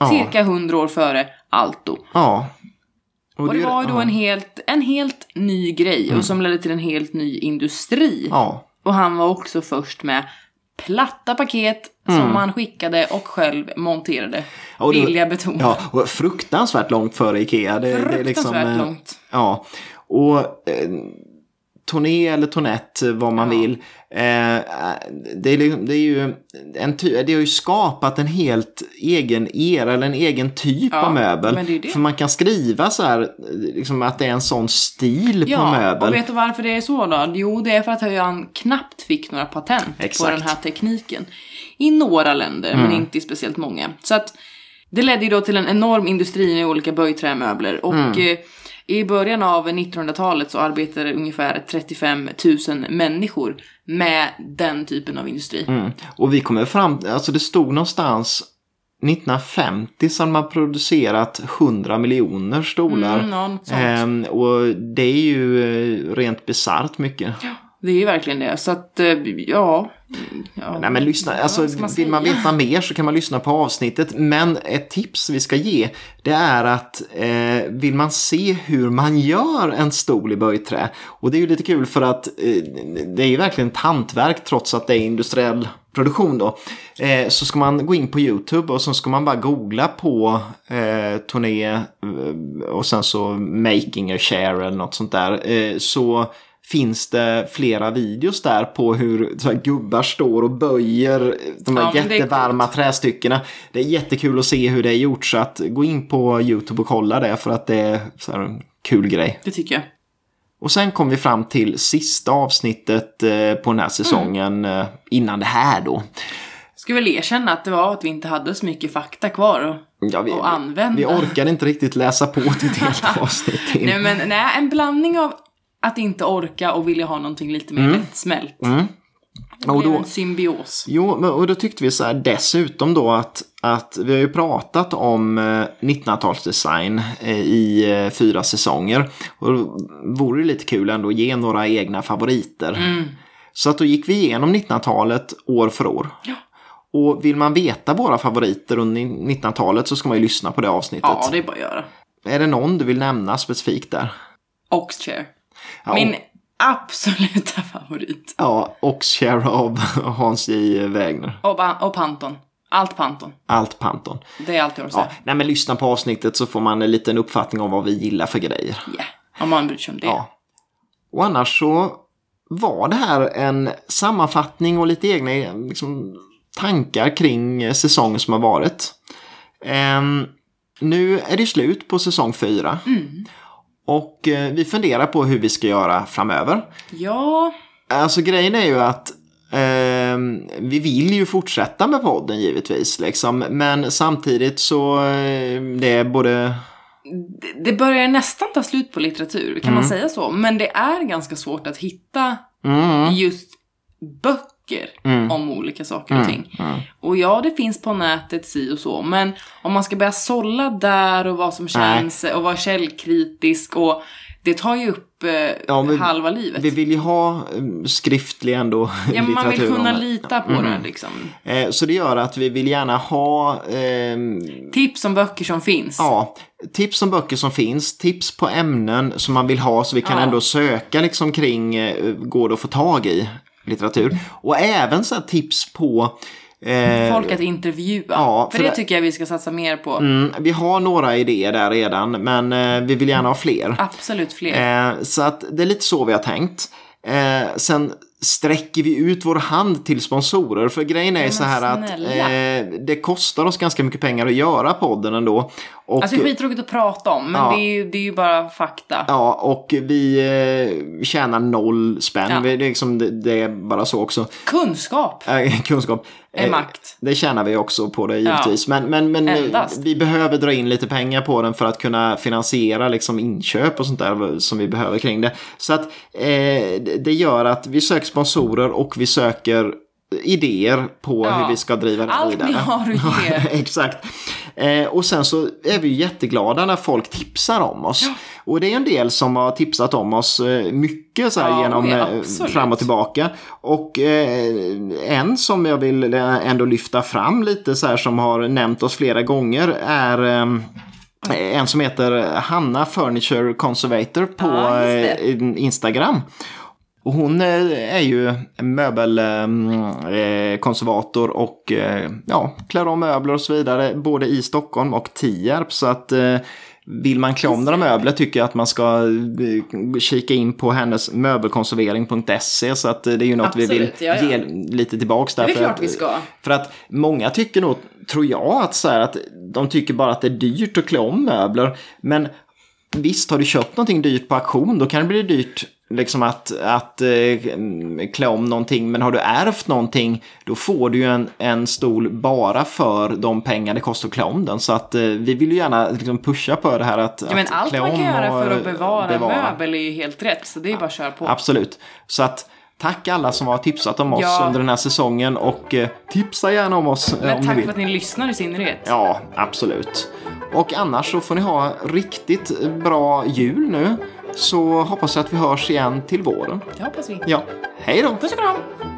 A: Ja.
B: Cirka 100 år före Alto.
A: ja.
B: Och det
A: är-
B: var ju då
A: ja. Mm.
B: en helt, en helt ny grej och som ledde till en helt ny industri.
A: Ja.
B: Och han var också först med platta paket som han skickade och själv monterade.
A: och det-
B: vill jag betona.
A: Mm. Ja, liksom, och fruktansvärt långt före Ikea. Det, det är liksom,
B: Fruktansvärt
A: eh,
B: långt.
A: Ja, och eh, toné eller tonett, vad man
B: Ja.
A: vill. Eh, det, är, liksom- det, är ju en ty- det har ju skapat en helt egen era eller en egen typ
B: Ja,
A: av möbel.
B: men det är ju det.
A: För man kan skriva så här, eh, liksom att det är en sån stil på möbel.
B: och vet du varför det är så då? Jo, det är för att Höjan knappt fick några patent
A: Exakt. Mm.
B: på den här tekniken. I några länder, men inte i speciellt många. Så att det ledde ju då till en enorm industri med olika böjträmöbler.
A: Mm.
B: Och eh, i början av 1900-talet så arbetade ungefär 35 000 människor med den typen av industri.
A: Mm. Och vi kommer fram, alltså det stod någonstans 1950 som man producerat 100 miljoner stolar.
B: Mm, ja, något sånt.
A: Ehm, och det är ju eh, rent bisarrt mycket.
B: Det är ju verkligen det. Så att, eh, ja. ja.
A: Nej men lyssna, alltså,
B: vad ska man
A: vill man
B: säga?
A: veta mer så kan man lyssna på avsnittet. Men ett tips vi ska ge det är att eh, vill man se hur man gör en stol i böjträ. Och det är ju lite kul för att eh, det är ju verkligen ett hantverk trots att det är industriell produktion då. Eh, så ska man gå in på YouTube och så ska man bara googla på eh, turné eh, och sen så making a share eller något sånt där. Eh, så finns det flera videos där på hur så här, gubbar står och böjer de här
B: Ja, men det är
A: jättevarma trästyckena. Det är jättekul att se hur det är gjort så att gå in på YouTube och kolla det för att det är så här, en kul grej.
B: Det tycker jag.
A: Och sen kom vi fram till sista avsnittet eh, på den här säsongen eh, innan det här då.
B: Ska väl erkänna att det var att vi inte hade så mycket fakta kvar.
A: Ja, vi,
B: Och använda.
A: vi orkade inte riktigt läsa på till ett
B: *laughs*
A: helt avsnitt till.
B: Nej men nej, en blandning av att inte orka och vilja ha någonting lite mer lättsmält. Det
A: Mm. Och
B: blev
A: då-
B: en symbios.
A: Jo, men- och då tyckte vi så här dessutom då att, att vi har ju pratat om eh, 1900-talsdesign eh, i eh, fyra säsonger. Och då vore det lite kul ändå att ge några egna favoriter.
B: Mm.
A: Så att då gick vi igenom 1900-talet år för år. Och vill man veta våra favoriter under 1900-talet så ska man ju lyssna på det avsnittet.
B: Ja, det är bara att göra.
A: Är det någon du vill nämna specifikt där?
B: Oxchair.
A: Ja,
B: Min
A: och-
B: absoluta *laughs* favorit.
A: Ja, Oxshare av Hans J. Wägner.
B: Och, ba- och Panton. Allt Panton.
A: Allt Panton.
B: Det är allt jag har att
A: Ja,
B: säga.
A: nej men lyssna på avsnittet så får man en liten uppfattning om vad vi gillar för grejer.
B: Yeah. Om man bryr sig om det.
A: Ja. Och annars så var det här en sammanfattning och lite egna liksom, tankar kring eh, säsongen som har varit. Ehm, nu är det slut på säsong fyra. Och eh, vi funderar på hur vi ska göra framöver.
B: ja.
A: Alltså grejen är ju att ehm, vi vill ju fortsätta med podden givetvis. Liksom. Men samtidigt så eh, det är både...
B: Det- Det börjar nästan ta slut på litteratur, kan man säga så? Men det är ganska svårt att hitta
A: Mm,
B: just böcker
A: Mm.
B: om olika saker och ting.
A: mm.
B: Och ja, det finns på nätet si och så, men om man ska börja sålla där och vad som känns och vara källkritisk och det tar ju upp eh,
A: Ja, men
B: halva livet.
A: Vi vill ju ha eh, skriftlig ändå
B: ja, men man vill
A: litteratur om
B: kunna
A: det.
B: lita på
A: Mm.
B: det liksom.
A: Eh, Så det gör att vi vill gärna ha ehm,
B: Tips om böcker som finns.
A: ja, tips om böcker som finns, tips på ämnen som man vill ha så vi kan
B: Ja.
A: ändå söka liksom kring, eh, går det att få tag i litteratur. Och även så här tips på eh,
B: Folk att intervjua.
A: Ja,
B: för
A: för
B: det,
A: det-
B: tycker jag vi ska satsa mer på.
A: Mm, vi har några idéer där redan, men eh, vi vill gärna ha fler.
B: Absolut fler.
A: Eh, så att det är lite så vi har tänkt. Eh, sen sträcker vi ut vår hand till sponsorer. För grejen är
B: men
A: så här att
B: snälla.
A: eh, det kostar oss ganska mycket pengar att göra podden ändå. Och,
B: Alltså det är skittråkigt att prata om, men
A: Ja.
B: det, är ju, det är ju bara fakta.
A: Ja, och vi eh, tjänar noll spänn.
B: Ja.
A: Vi, det, är liksom, det, det är bara så också.
B: Kunskap
A: Eh, *laughs* kunskap.
B: är
A: Eh,
B: makt.
A: Det tjänar vi också på det givetvis. Men, men, men eh,
B: Endast.
A: vi behöver dra in lite pengar på den för att kunna finansiera liksom inköp och sånt där som vi behöver kring det. Så att eh, det- det gör att vi söker sponsorer och vi söker idéer på
B: Ja.
A: hur vi ska driva det här
B: Allt
A: vidare.
B: ni har
A: *laughs*
B: att ge.
A: Exakt. Eh, och sen så är vi ju jätteglada när folk tipsar om oss. Och det är ju en del som har tipsat om oss eh, mycket så här
B: Ja,
A: genom
B: oj,
A: eh,
B: absolut.
A: fram och tillbaka. Och eh, en som jag vill eh, ändå lyfta fram lite så här som har nämnt oss flera gånger är eh, en som heter Hanna Furniture Conservator på
B: Ja, just det.
A: eh, Instagram. Och hon eh, är ju möbelkonservator eh, och eh, ja, klär om möbler och så vidare både i Stockholm och Tierp. Så att eh, vill man klä om några möbler tycker jag att man ska eh, kika in på hennes möbelkonservering.se. Så att eh, det är ju något vi vill
B: Absolut, ja, ja.
A: ge lite tillbaks där.
B: Det är
A: för
B: klart
A: att-
B: vi ska.
A: för att många tycker nog, tror jag, att, så här, att de tycker bara att det är dyrt att klä om möbler. Men visst, har du köpt någonting dyrt på auktion då kan det bli dyrt liksom att, att eh, klä om någonting. Men har du ärvt någonting då får du ju en, en stol bara för de pengar det kostar att klä om den. Så att eh, vi vill ju gärna liksom pusha på det här att,
B: Ja, men
A: att
B: allt
A: klä
B: man
A: om
B: kan göra
A: och,
B: för att
A: eh,
B: bevara, en möbel är ju helt rätt, så det är bara att köra på.
A: Absolut. Så att tack alla som har tipsat om oss
B: Ja.
A: under den här säsongen och eh, tipsa gärna om oss eh, om
B: Men
A: ni
B: tack
A: vill.
B: för att ni lyssnar i synnerhet.
A: Ja, absolut. Och annars så får ni ha riktigt bra jul nu. Så hoppas jag att vi hörs igen till våren.
B: Det hoppas vi.
A: Ja, hej då!
B: Puss och kram!